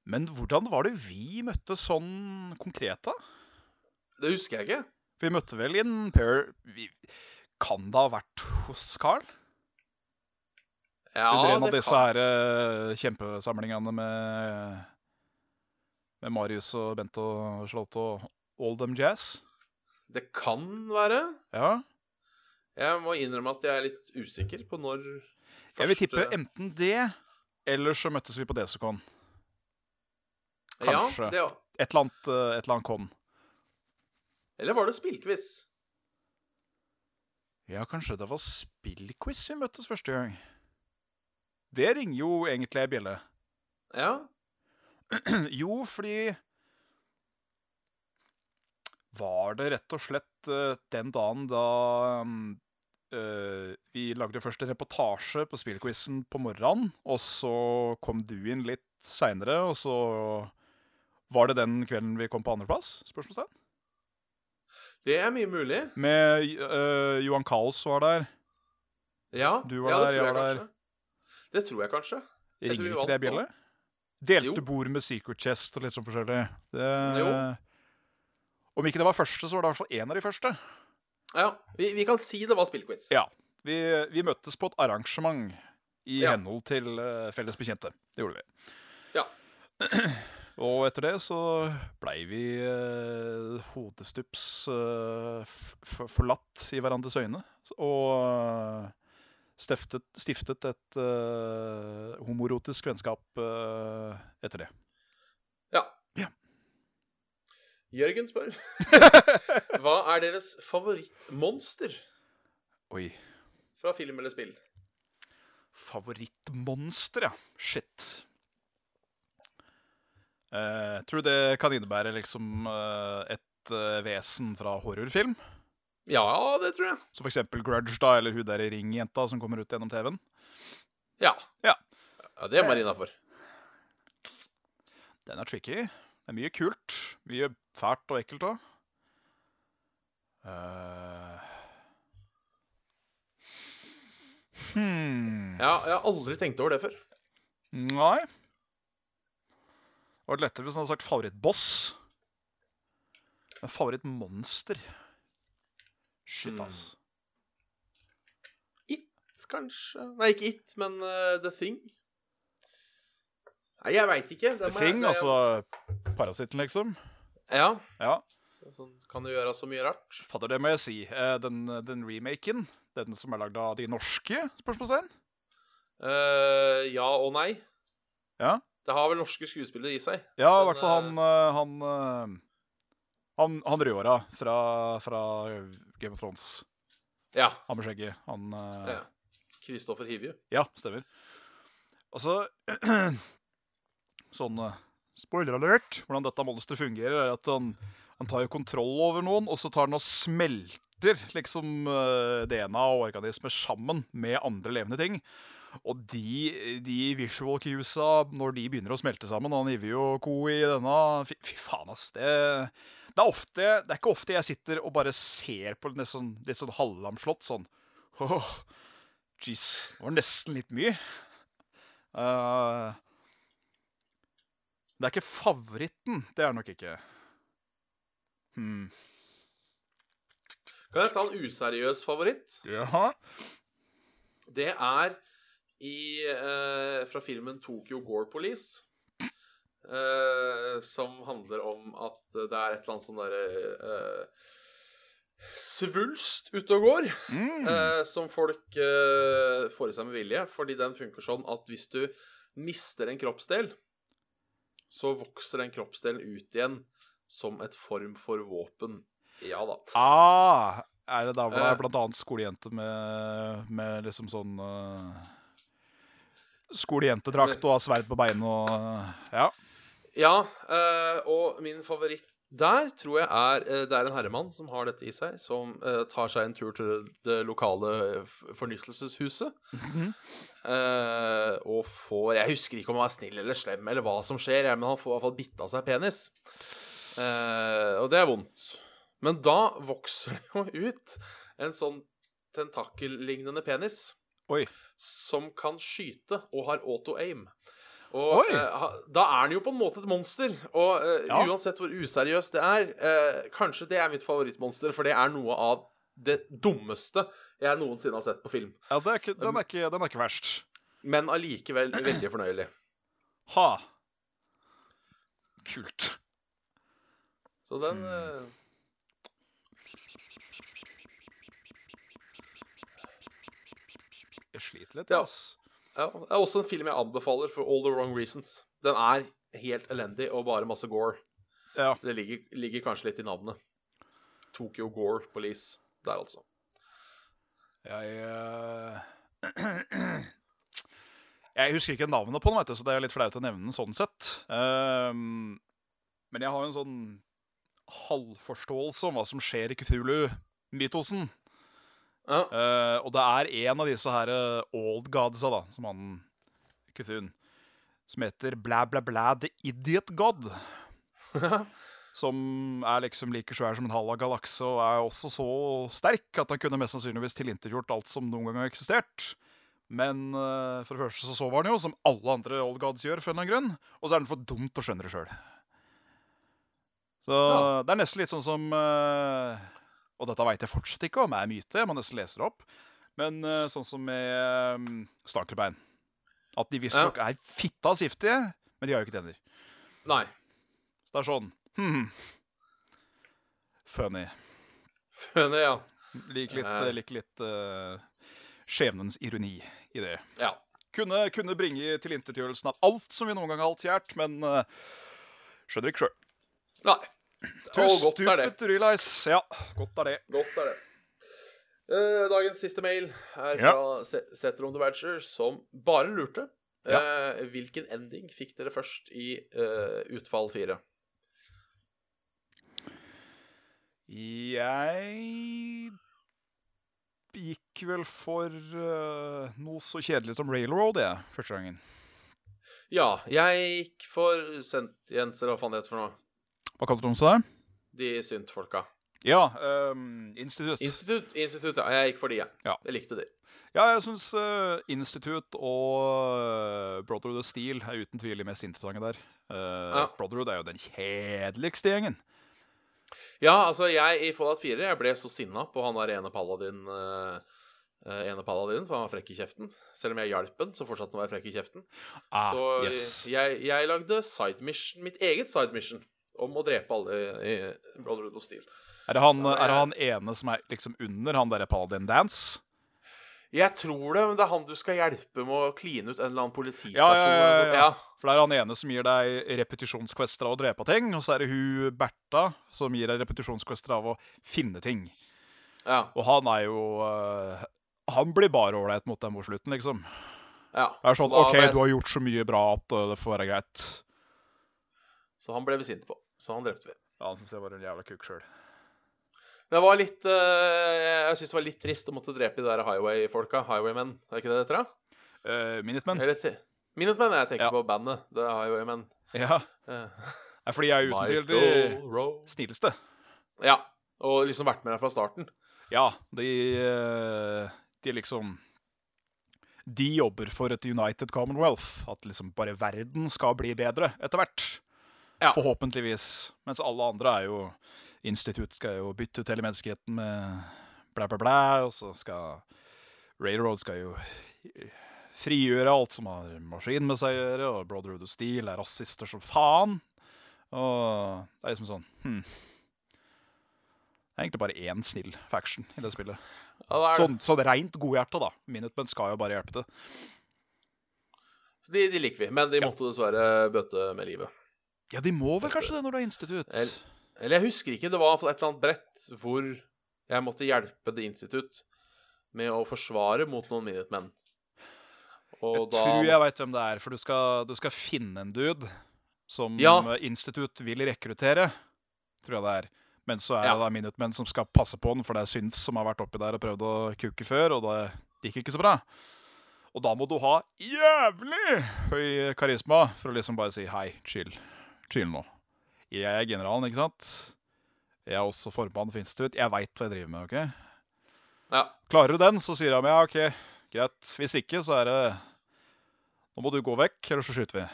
Speaker 3: men hvordan var det vi møttes sånn konkret, da?
Speaker 2: Det husker jeg ikke.
Speaker 3: Vi møtte vel i en pair vi, Kan det ha vært hos Carl?
Speaker 2: Ja,
Speaker 3: Under en av
Speaker 2: det
Speaker 3: disse
Speaker 2: kan-
Speaker 3: her eh, kjempesamlingene med, med Marius og Bent og Charlotte og All Them Jazz.
Speaker 2: Det kan være.
Speaker 3: Ja.
Speaker 2: Jeg må innrømme at jeg er litt usikker på når
Speaker 3: Jeg vil tippe
Speaker 2: første-
Speaker 3: enten det, eller så møttes vi på Desicon. kanskje.
Speaker 2: Ja, det,
Speaker 3: Et eller annet, eh, et eller annet con.
Speaker 2: eller var det spillquiz?
Speaker 3: Ja, kanskje det var spillquiz vi møttes første gang. Det ringer jo egentlig ei bjelle.
Speaker 2: Ja.
Speaker 3: jo, fordi Var det rett og slett eh, den dagen da mm, eh, vi lagde først en reportasje på spillquizen på morgenen, og så kom du inn litt seinere, og så var det den kvelden vi kom på andreplass? Spørsmålstegn?
Speaker 2: Det er mye mulig.
Speaker 3: Med eh, Johan Kaos var der.
Speaker 2: Ja,
Speaker 3: Du var
Speaker 2: ja,
Speaker 3: der, jeg var der.
Speaker 2: kanskje. Det tror jeg kanskje. Jeg tror
Speaker 3: Ringer
Speaker 2: vi
Speaker 3: ikke
Speaker 2: vant
Speaker 3: det
Speaker 2: da.
Speaker 3: bjelle? Delte
Speaker 2: Jo.
Speaker 3: bord med Secret Chest og litt sånn forskjellig. Det,
Speaker 2: Jo.
Speaker 3: Om ikke det var første, så var det i hvert fall én av de første.
Speaker 2: Ja, vi, vi kan si det var spillquiz.
Speaker 3: Ja. Vi, vi møttes på et arrangement i
Speaker 2: Ja.
Speaker 3: henhold til eh, felles bekjente. Det gjorde vi.
Speaker 2: Ja.
Speaker 3: Og etter det så blei vi eh, hodestups eh, f- f- forlatt i hverandres øyne. Og eh, stiftet, stiftet et eh, homorotisk vennskap eh, etter det.
Speaker 2: Ja.
Speaker 3: Ja.
Speaker 2: Jørgen spør Hva er deres favorittmonster
Speaker 3: Oi.
Speaker 2: fra film eller spill?
Speaker 3: Favorittmonster, ja. Shit. Eh, tror du det kan innebære liksom eh, et eh, vesen fra horrorfilm?
Speaker 2: Ja, det tror jeg.
Speaker 3: Som f.eks. Grudge, da, eller hun der i Ring-jenta som kommer ut gjennom TV-en?
Speaker 2: Ja.
Speaker 3: Ja. Eh.
Speaker 2: Ja, Det er Marina for.
Speaker 3: Den er tricky. Det er mye kult. Mye fælt og ekkelt òg. Eh. hmm.
Speaker 2: Ja, jeg har aldri tenkt over det før.
Speaker 3: Nei. Det hadde vært lettere hvis han hadde sagt favorittboss. Men favorittmonster Shit,
Speaker 2: Mm.
Speaker 3: ass.
Speaker 2: Kanskje Nei, ikke It, men eh, The Thing. Nei, jeg veit ikke.
Speaker 3: The Thing, altså parasitten, liksom.
Speaker 2: Ja.
Speaker 3: Ja.
Speaker 2: Så, sånn kan det gjøre så mye rart.
Speaker 3: Fader, det må jeg si. Eh, Den, den remaken, den som er lagd av de norske, spørsmålstegn?
Speaker 2: Eh, ja og nei.
Speaker 3: Ja.
Speaker 2: Det har vel norske skuespillere i seg.
Speaker 3: Ja, i
Speaker 2: Men,
Speaker 3: hvert fall han eh, Han, eh, han, han rødhåra fra, fra Game of Thrones.
Speaker 2: Ja.
Speaker 3: Han med skjegget. Han eh,
Speaker 2: ja. Kristoffer Hivju.
Speaker 3: Ja, stemmer. Altså Sånn eh, spoiler alert. Hvordan dette monsteret fungerer, er at han, han tar jo kontroll over noen, og så tar han og smelter liksom eh, DNA og organismer sammen med andre levende ting. Og de, de visual cuesa, når de begynner å smelte sammen Han hiver jo ko i denne Fy, fy faen, ass. Det, det, er ofte, det er ikke ofte jeg sitter og bare ser på litt sånn, litt sånn halvlamslått sånn «Åh, Jeez, det var nesten litt mye. Eh, det er ikke favoritten, det er det nok ikke. Hmm.
Speaker 2: Kan jeg ta en useriøs favoritt?
Speaker 3: Jaha.
Speaker 2: Det er i, eh, fra filmen Tokyo Gore Police. eh, som handler om at det er et eller annet sånn derre eh, svulst ute og går.
Speaker 3: Mm.
Speaker 2: eh, som folk eh, får i seg med vilje, fordi den funker sånn at hvis du mister en kroppsdel, så vokser den kroppsdelen ut igjen som et form for våpen. Ja da.
Speaker 3: Ah, er det da hvor det
Speaker 2: Eh.
Speaker 3: er blant annet skolejente med, med liksom sånn eh, Skolejentedrakt og har sverd på beinet og Ja.
Speaker 2: Ja, eh, og min favoritt der tror jeg er eh, Det er en herremann som har dette i seg, som eh, tar seg en tur til det lokale eh, f- fornyttelseshuset. eh, og får Jeg husker ikke om han er snill eller slem eller hva som skjer, jeg, men han får i hvert fall bitt av seg penis. Eh, og det er vondt. Men da vokser det jo ut en sånn tentakellignende penis
Speaker 3: Oi.
Speaker 2: som kan skyte og har auto-aim. Og
Speaker 3: Oi.
Speaker 2: eh, ha- da er han jo på en måte et monster. Og eh,
Speaker 3: Ja.
Speaker 2: uansett hvor useriøst det er, eh, kanskje det er mitt favorittmonster, for det er noe av det dummeste jeg noensinne har sett på film.
Speaker 3: ja det er ikke, den, er ikke, den er ikke verst.
Speaker 2: Men allikevel veldig fornøyelig.
Speaker 3: Ha. Kult.
Speaker 2: Så den
Speaker 3: Hmm.
Speaker 2: eh,
Speaker 3: Jeg sliter litt,
Speaker 2: Ja.
Speaker 3: ass.
Speaker 2: ja, det er også en film jeg anbefaler for all the wrong reasons. Den er helt elendig og bare masse gore.
Speaker 3: Ja.
Speaker 2: Det ligger, ligger kanskje litt i navnet. Tokyo Gore Police der, altså.
Speaker 3: Jeg eh, Jeg husker ikke navnet på den, vet du, så det er litt flaut å nevne den sånn sett. Ehm, men jeg har en sånn halvforståelse om hva som skjer i Kufulu-mytosen.
Speaker 2: Ja.
Speaker 3: Eh, og det er en av disse her eh, old godsa, da, som han Kuthun, som heter blæ, blæ, blæ, the idiot god. som er liksom like svær som en halv av galakse, og er også så sterk at han kunne mest sannsynligvis tilintetgjort alt som noen gang har eksistert. Men eh, for det første så sover han jo, som alle andre old gods gjør, for en eller annen grunn. Og så er han for dum til å skjønne det sjøl. Så
Speaker 2: Ja.
Speaker 3: det er nesten litt sånn som eh, Og dette veit jeg fortsatt ikke om er myte, jeg må nesten lese det opp. Men eh, sånn som med um, stankelbein. At de visstnok er fitta siftige, men de har jo ikke tenner.
Speaker 2: Nei.
Speaker 3: Så det er sånn hmm. Funny.
Speaker 2: Men ja.
Speaker 3: Lik litt,
Speaker 2: Ja.
Speaker 3: eh, lik litt eh, skjebnens ironi i det.
Speaker 2: ja.
Speaker 3: Kunne, kunne bringe tilintetgjørelsen av alt som vi noen gang har alt kjært, men eh, skjønner ikke sjøl.
Speaker 2: Nei.
Speaker 3: Too
Speaker 2: Og godt er det.
Speaker 3: stupid to realize. Ja, godt er det.
Speaker 2: Godt er det. Eh, dagens siste mail er
Speaker 3: Ja.
Speaker 2: fra Se- Setron the Badger, som bare lurte.
Speaker 3: Ja.
Speaker 2: eh, hvilken ending fikk dere først i eh, Utfall 4?
Speaker 3: Jeg gikk vel for eh, noe så kjedelig som railroad, jeg, første gangen.
Speaker 2: Ja, jeg gikk for sentienser, hva faen det heter for noe.
Speaker 3: Hva kalte du dem så der?
Speaker 2: De syntfolka.
Speaker 3: Ja, um, institutt.
Speaker 2: Institutt, institutt, ja. Jeg gikk for de, jeg.
Speaker 3: Ja.
Speaker 2: Jeg likte de.
Speaker 3: ja, jeg syns uh, Institute og uh, Brotherhood og Steel er uten tvil de mest interessante der. Eh,
Speaker 2: Ja.
Speaker 3: Brotherhood er jo den kjedeligste gjengen.
Speaker 2: Ja, altså, jeg i Fallout 4 jeg ble så sinna på han der ene paladin eh, eh, ene paladinen, for han var frekk i kjeften. Selv om jeg hjalp han, så fortsatte han å være frekk i kjeften.
Speaker 3: Ah,
Speaker 2: så eh,
Speaker 3: yes.
Speaker 2: jeg, jeg lagde side mission, mitt eget side mission om å drepe alle i i Brotherhood of Steel.
Speaker 3: Er det, han,
Speaker 2: Ja,
Speaker 3: er det han ene som er liksom under han derre Paladin Dance?
Speaker 2: Jeg tror det, men det er han du skal hjelpe med å kline ut en eller annen politistasjon.
Speaker 3: Ja, ja, ja,
Speaker 2: eller noe sånt.
Speaker 3: ja. For det er han ene som gir deg repetisjonsquester av å drepe ting, og så er det hun Bertha som gir deg repetisjonsquester av å finne ting.
Speaker 2: ja,
Speaker 3: Og han er jo eh, Han blir bare ålreit mot deg mot slutten, liksom.
Speaker 2: ja, ja.
Speaker 3: Det er sånn
Speaker 2: da
Speaker 3: OK,
Speaker 2: ble jeg-
Speaker 3: du har gjort så mye bra at eh, det får være greit.
Speaker 2: Så han ble vi sinte på. Så han drepte vi.
Speaker 3: Ja, han syns jeg var en jævla kukk sjøl.
Speaker 2: Men det var litt eh, Jeg syns det var litt trist å måtte drepe de der highway-folka. Highwaymen, er ikke det det heter? da?
Speaker 3: Eh, Minutemen.
Speaker 2: Eller til Minutemen. Jeg tenker
Speaker 3: Ja.
Speaker 2: på bandet. Det er Highwaymen.
Speaker 3: Ja.
Speaker 2: Eh,
Speaker 3: Nei, Fordi jeg er uten tvil de
Speaker 2: Michael Rowe.
Speaker 3: snilleste.
Speaker 2: Ja. Og liksom vært med der fra starten.
Speaker 3: Ja, de eh, De liksom De jobber for et United Commonwealth. At liksom bare verden skal bli bedre etter hvert.
Speaker 2: Ja.
Speaker 3: Forhåpentligvis. Mens alle andre er jo Institutt skal jo bytte ut hele menneskeheten med blæ, blæ, blæ. Og så skal Railroad skal jo eh, frigjøre alt som har maskin med seg å gjøre. Og Brotherhood og Steel er rasister som faen. Og det er liksom sånn hmm. Det er egentlig bare én snill faction i det spillet.
Speaker 2: Ja, da er det.
Speaker 3: Sånn, sånn rent godhjerte, da. Minutemen skal jo bare hjelpe til.
Speaker 2: Så de, de liker vi, men de måtte dessverre bøte med livet.
Speaker 3: Ja, de må vel kanskje det når du er institutt.
Speaker 2: El- Eller jeg husker ikke, det var i hvert fall et eller annet brett hvor jeg måtte hjelpe The Institute med å forsvare mot noen Minutemen. Og
Speaker 3: Jeg
Speaker 2: da
Speaker 3: tror jeg veit hvem det er, for du skal, du skal finne en dude som eh,
Speaker 2: Ja.
Speaker 3: institutt vil rekruttere, tror jeg det er. Men så er
Speaker 2: Ja.
Speaker 3: det da Minutemen som skal passe på den, for det er Synth som har vært oppi der og prøvd å kuke før, og det gikk ikke så bra. Og da må du ha jævlig høy karisma for å liksom bare si hei, chill. Chill nå. Jeg er generalen, ikke sant? Jeg er også formann for institutt. Jeg veit hva jeg driver med, OK?
Speaker 2: Ja.
Speaker 3: Klarer du den, så sier han ja, ok, greit. Hvis ikke, så er det Nå må du gå vekk, eller så skyter vi.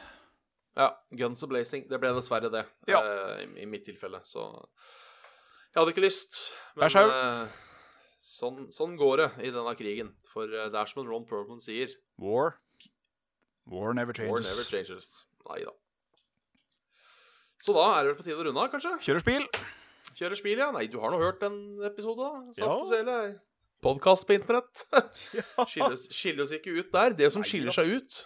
Speaker 2: Ja, Guns and Blazing. Det ble dessverre det,
Speaker 3: Ja.
Speaker 2: eh, i, i mitt tilfelle. Så jeg hadde ikke lyst.
Speaker 3: Jeg
Speaker 2: Men
Speaker 3: skjønner.
Speaker 2: eh, sånn, sånn går det i denne krigen. For eh, det er som en Ron Perlman sier
Speaker 3: War. War never changes.
Speaker 2: War never changes. Nei da. Så da er det vel på tide å runde av, kanskje?
Speaker 3: Kjører spill.
Speaker 2: Kjører smil, ja. Nei, du har nå hørt en episode, da.
Speaker 3: Ja.
Speaker 2: Saft og sele. Podkast på internett. skiller, oss, skiller oss ikke ut der. Det som
Speaker 3: Nei
Speaker 2: skiller
Speaker 3: da.
Speaker 2: seg ut,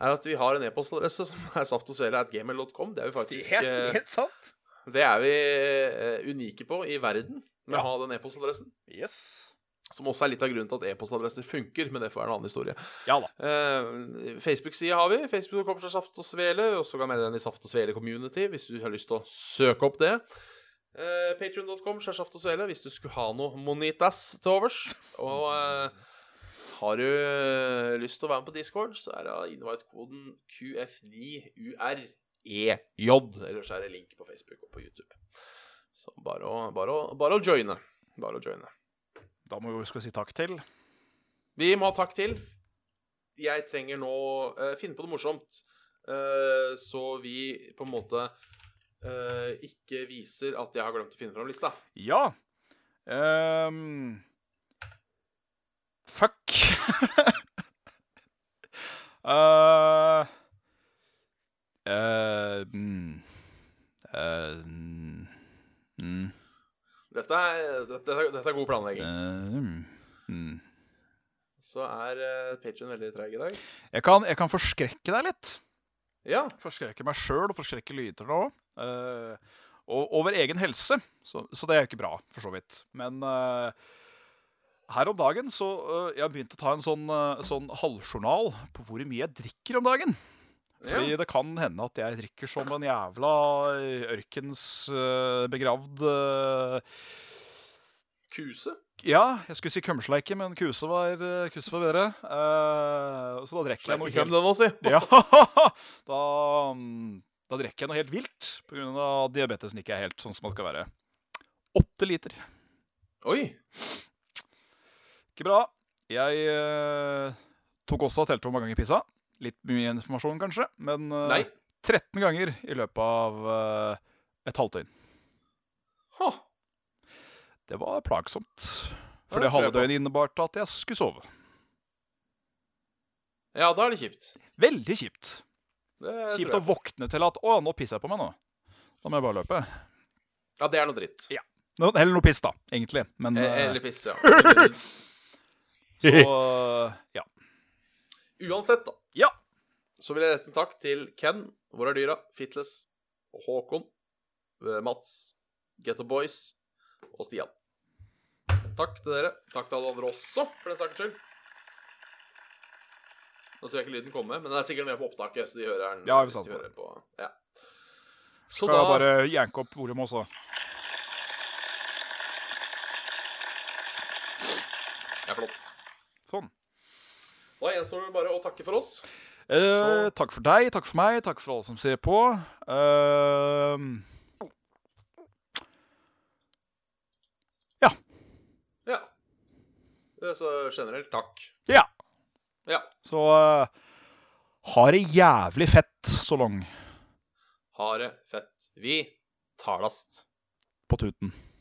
Speaker 2: er at vi har en e-postadresse som er saftogsvele.gmail.com. Det er vi faktisk eh,
Speaker 3: sant.
Speaker 2: Det er vi eh, unike på i verden med å
Speaker 3: Ja.
Speaker 2: ha den e-postadressen.
Speaker 3: Yes.
Speaker 2: Som også er litt av grunnen til at e-postadresser funker, men det får være en annen historie.
Speaker 3: Ja da.
Speaker 2: Eh, Facebook-side har vi. Facebook.com slash Saft og Svele. Vi også kan melde deg inn i Saft og Svele Community hvis du har lyst til å søke opp det. Uh, Patrion.com slash Saft og Svele hvis du skulle ha noe monitas til overs. Og eh, har du eh, lyst til å være med på Discord, så er det invite-koden QF9UREJ. E Ellers er det link på Facebook og på YouTube. Så bare å, bare å, bare å joine. Bare å joine.
Speaker 3: Da må vi huske å si takk til.
Speaker 2: Vi må ha takk til. Jeg trenger nå eh, finne på noe morsomt, eh, så vi på en måte eh, ikke viser at jeg har glemt å finne fram lista.
Speaker 3: Ja. Ehm, fuck. Eh, eh, mm, eh, mm, mm,
Speaker 2: Dette er, dette, er- dette er god planlegging.
Speaker 3: mm, mm.
Speaker 2: Så er uh, Patrion veldig treig i dag.
Speaker 3: Jeg, kan, jeg kan forskrekke deg litt.
Speaker 2: Ja.
Speaker 3: Forskrekke meg sjøl og forskrekke lytterne òg. Eh, og over egen helse, så, så det er ikke bra, for så vidt. Men eh, her om dagen så eh, Jeg har begynt å ta en sånn, eh, sånn halvjournal på hvor mye jeg drikker om dagen. Fordi
Speaker 2: ja.
Speaker 3: det kan hende at jeg drikker som en jævla ørkens eh, begravd eh,
Speaker 2: Kuse.
Speaker 3: Ja, jeg skulle si kømsleike, men kuse var, eh, kuse var bedre. Eh, så da drikker jeg noe
Speaker 2: Sleik ikke
Speaker 3: helt
Speaker 2: om den nå, si.
Speaker 3: ja, da, mm, da drikker jeg noe helt vilt pga. at diabetesen ikke er helt sånn som man skal være. Åtte liter.
Speaker 2: Oi.
Speaker 3: Ikke bra. Jeg eh, tok også og telte hvor mange ganger pissa. Litt mye informasjon, kanskje, men eh,
Speaker 2: Nei.
Speaker 3: 13 ganger i løpet av eh, et halvt døgn.
Speaker 2: Ha.
Speaker 3: Det var plagsomt.
Speaker 2: Ja,
Speaker 3: For
Speaker 2: det tror
Speaker 3: det
Speaker 2: jeg
Speaker 3: halve døgnet innebar at jeg skulle sove.
Speaker 2: Ja, da er det kjipt.
Speaker 3: Veldig kjipt.
Speaker 2: Det
Speaker 3: Kjipt
Speaker 2: tror
Speaker 3: å
Speaker 2: jeg.
Speaker 3: våkne til at 'Å, nå pisser jeg på meg nå'. Da må jeg bare løpe.
Speaker 2: Ja, det er noe dritt.
Speaker 3: Nå- Heller noe piss, da, egentlig. Men
Speaker 2: Eh,
Speaker 3: eh,
Speaker 2: Eller piss, ja. Eller-
Speaker 3: så eh, ja.
Speaker 2: Uansett, da.
Speaker 3: Ja.
Speaker 2: Så vil jeg rette en takk til Ken, Hvor er dyra, Fitles, Håkon, eh, Mats, Get the Boys og Stian. Takk til dere. Takk til alle andre også, for den saks skyld. Nå tror jeg ikke lyden kommer, men den er sikkert med på opptaket. Så de hører den
Speaker 3: Ja, vi
Speaker 2: hvis
Speaker 3: sant
Speaker 2: de
Speaker 3: det.
Speaker 2: hører på. Ja. Så
Speaker 3: Skal
Speaker 2: da
Speaker 3: jeg bare janke opp volumet også?
Speaker 2: Ja, flott.
Speaker 3: Sånn.
Speaker 2: Da gjenstår det bare å takke for oss.
Speaker 3: Eh, takk for deg, takk for meg, takk for alle som ser på. Eh,
Speaker 2: Ja. Eh, Så generelt takk.
Speaker 3: ja,
Speaker 2: Ja.
Speaker 3: så eh, ha det jævlig fett så lang
Speaker 2: Ha det fett. Vi talast.
Speaker 3: på tuten.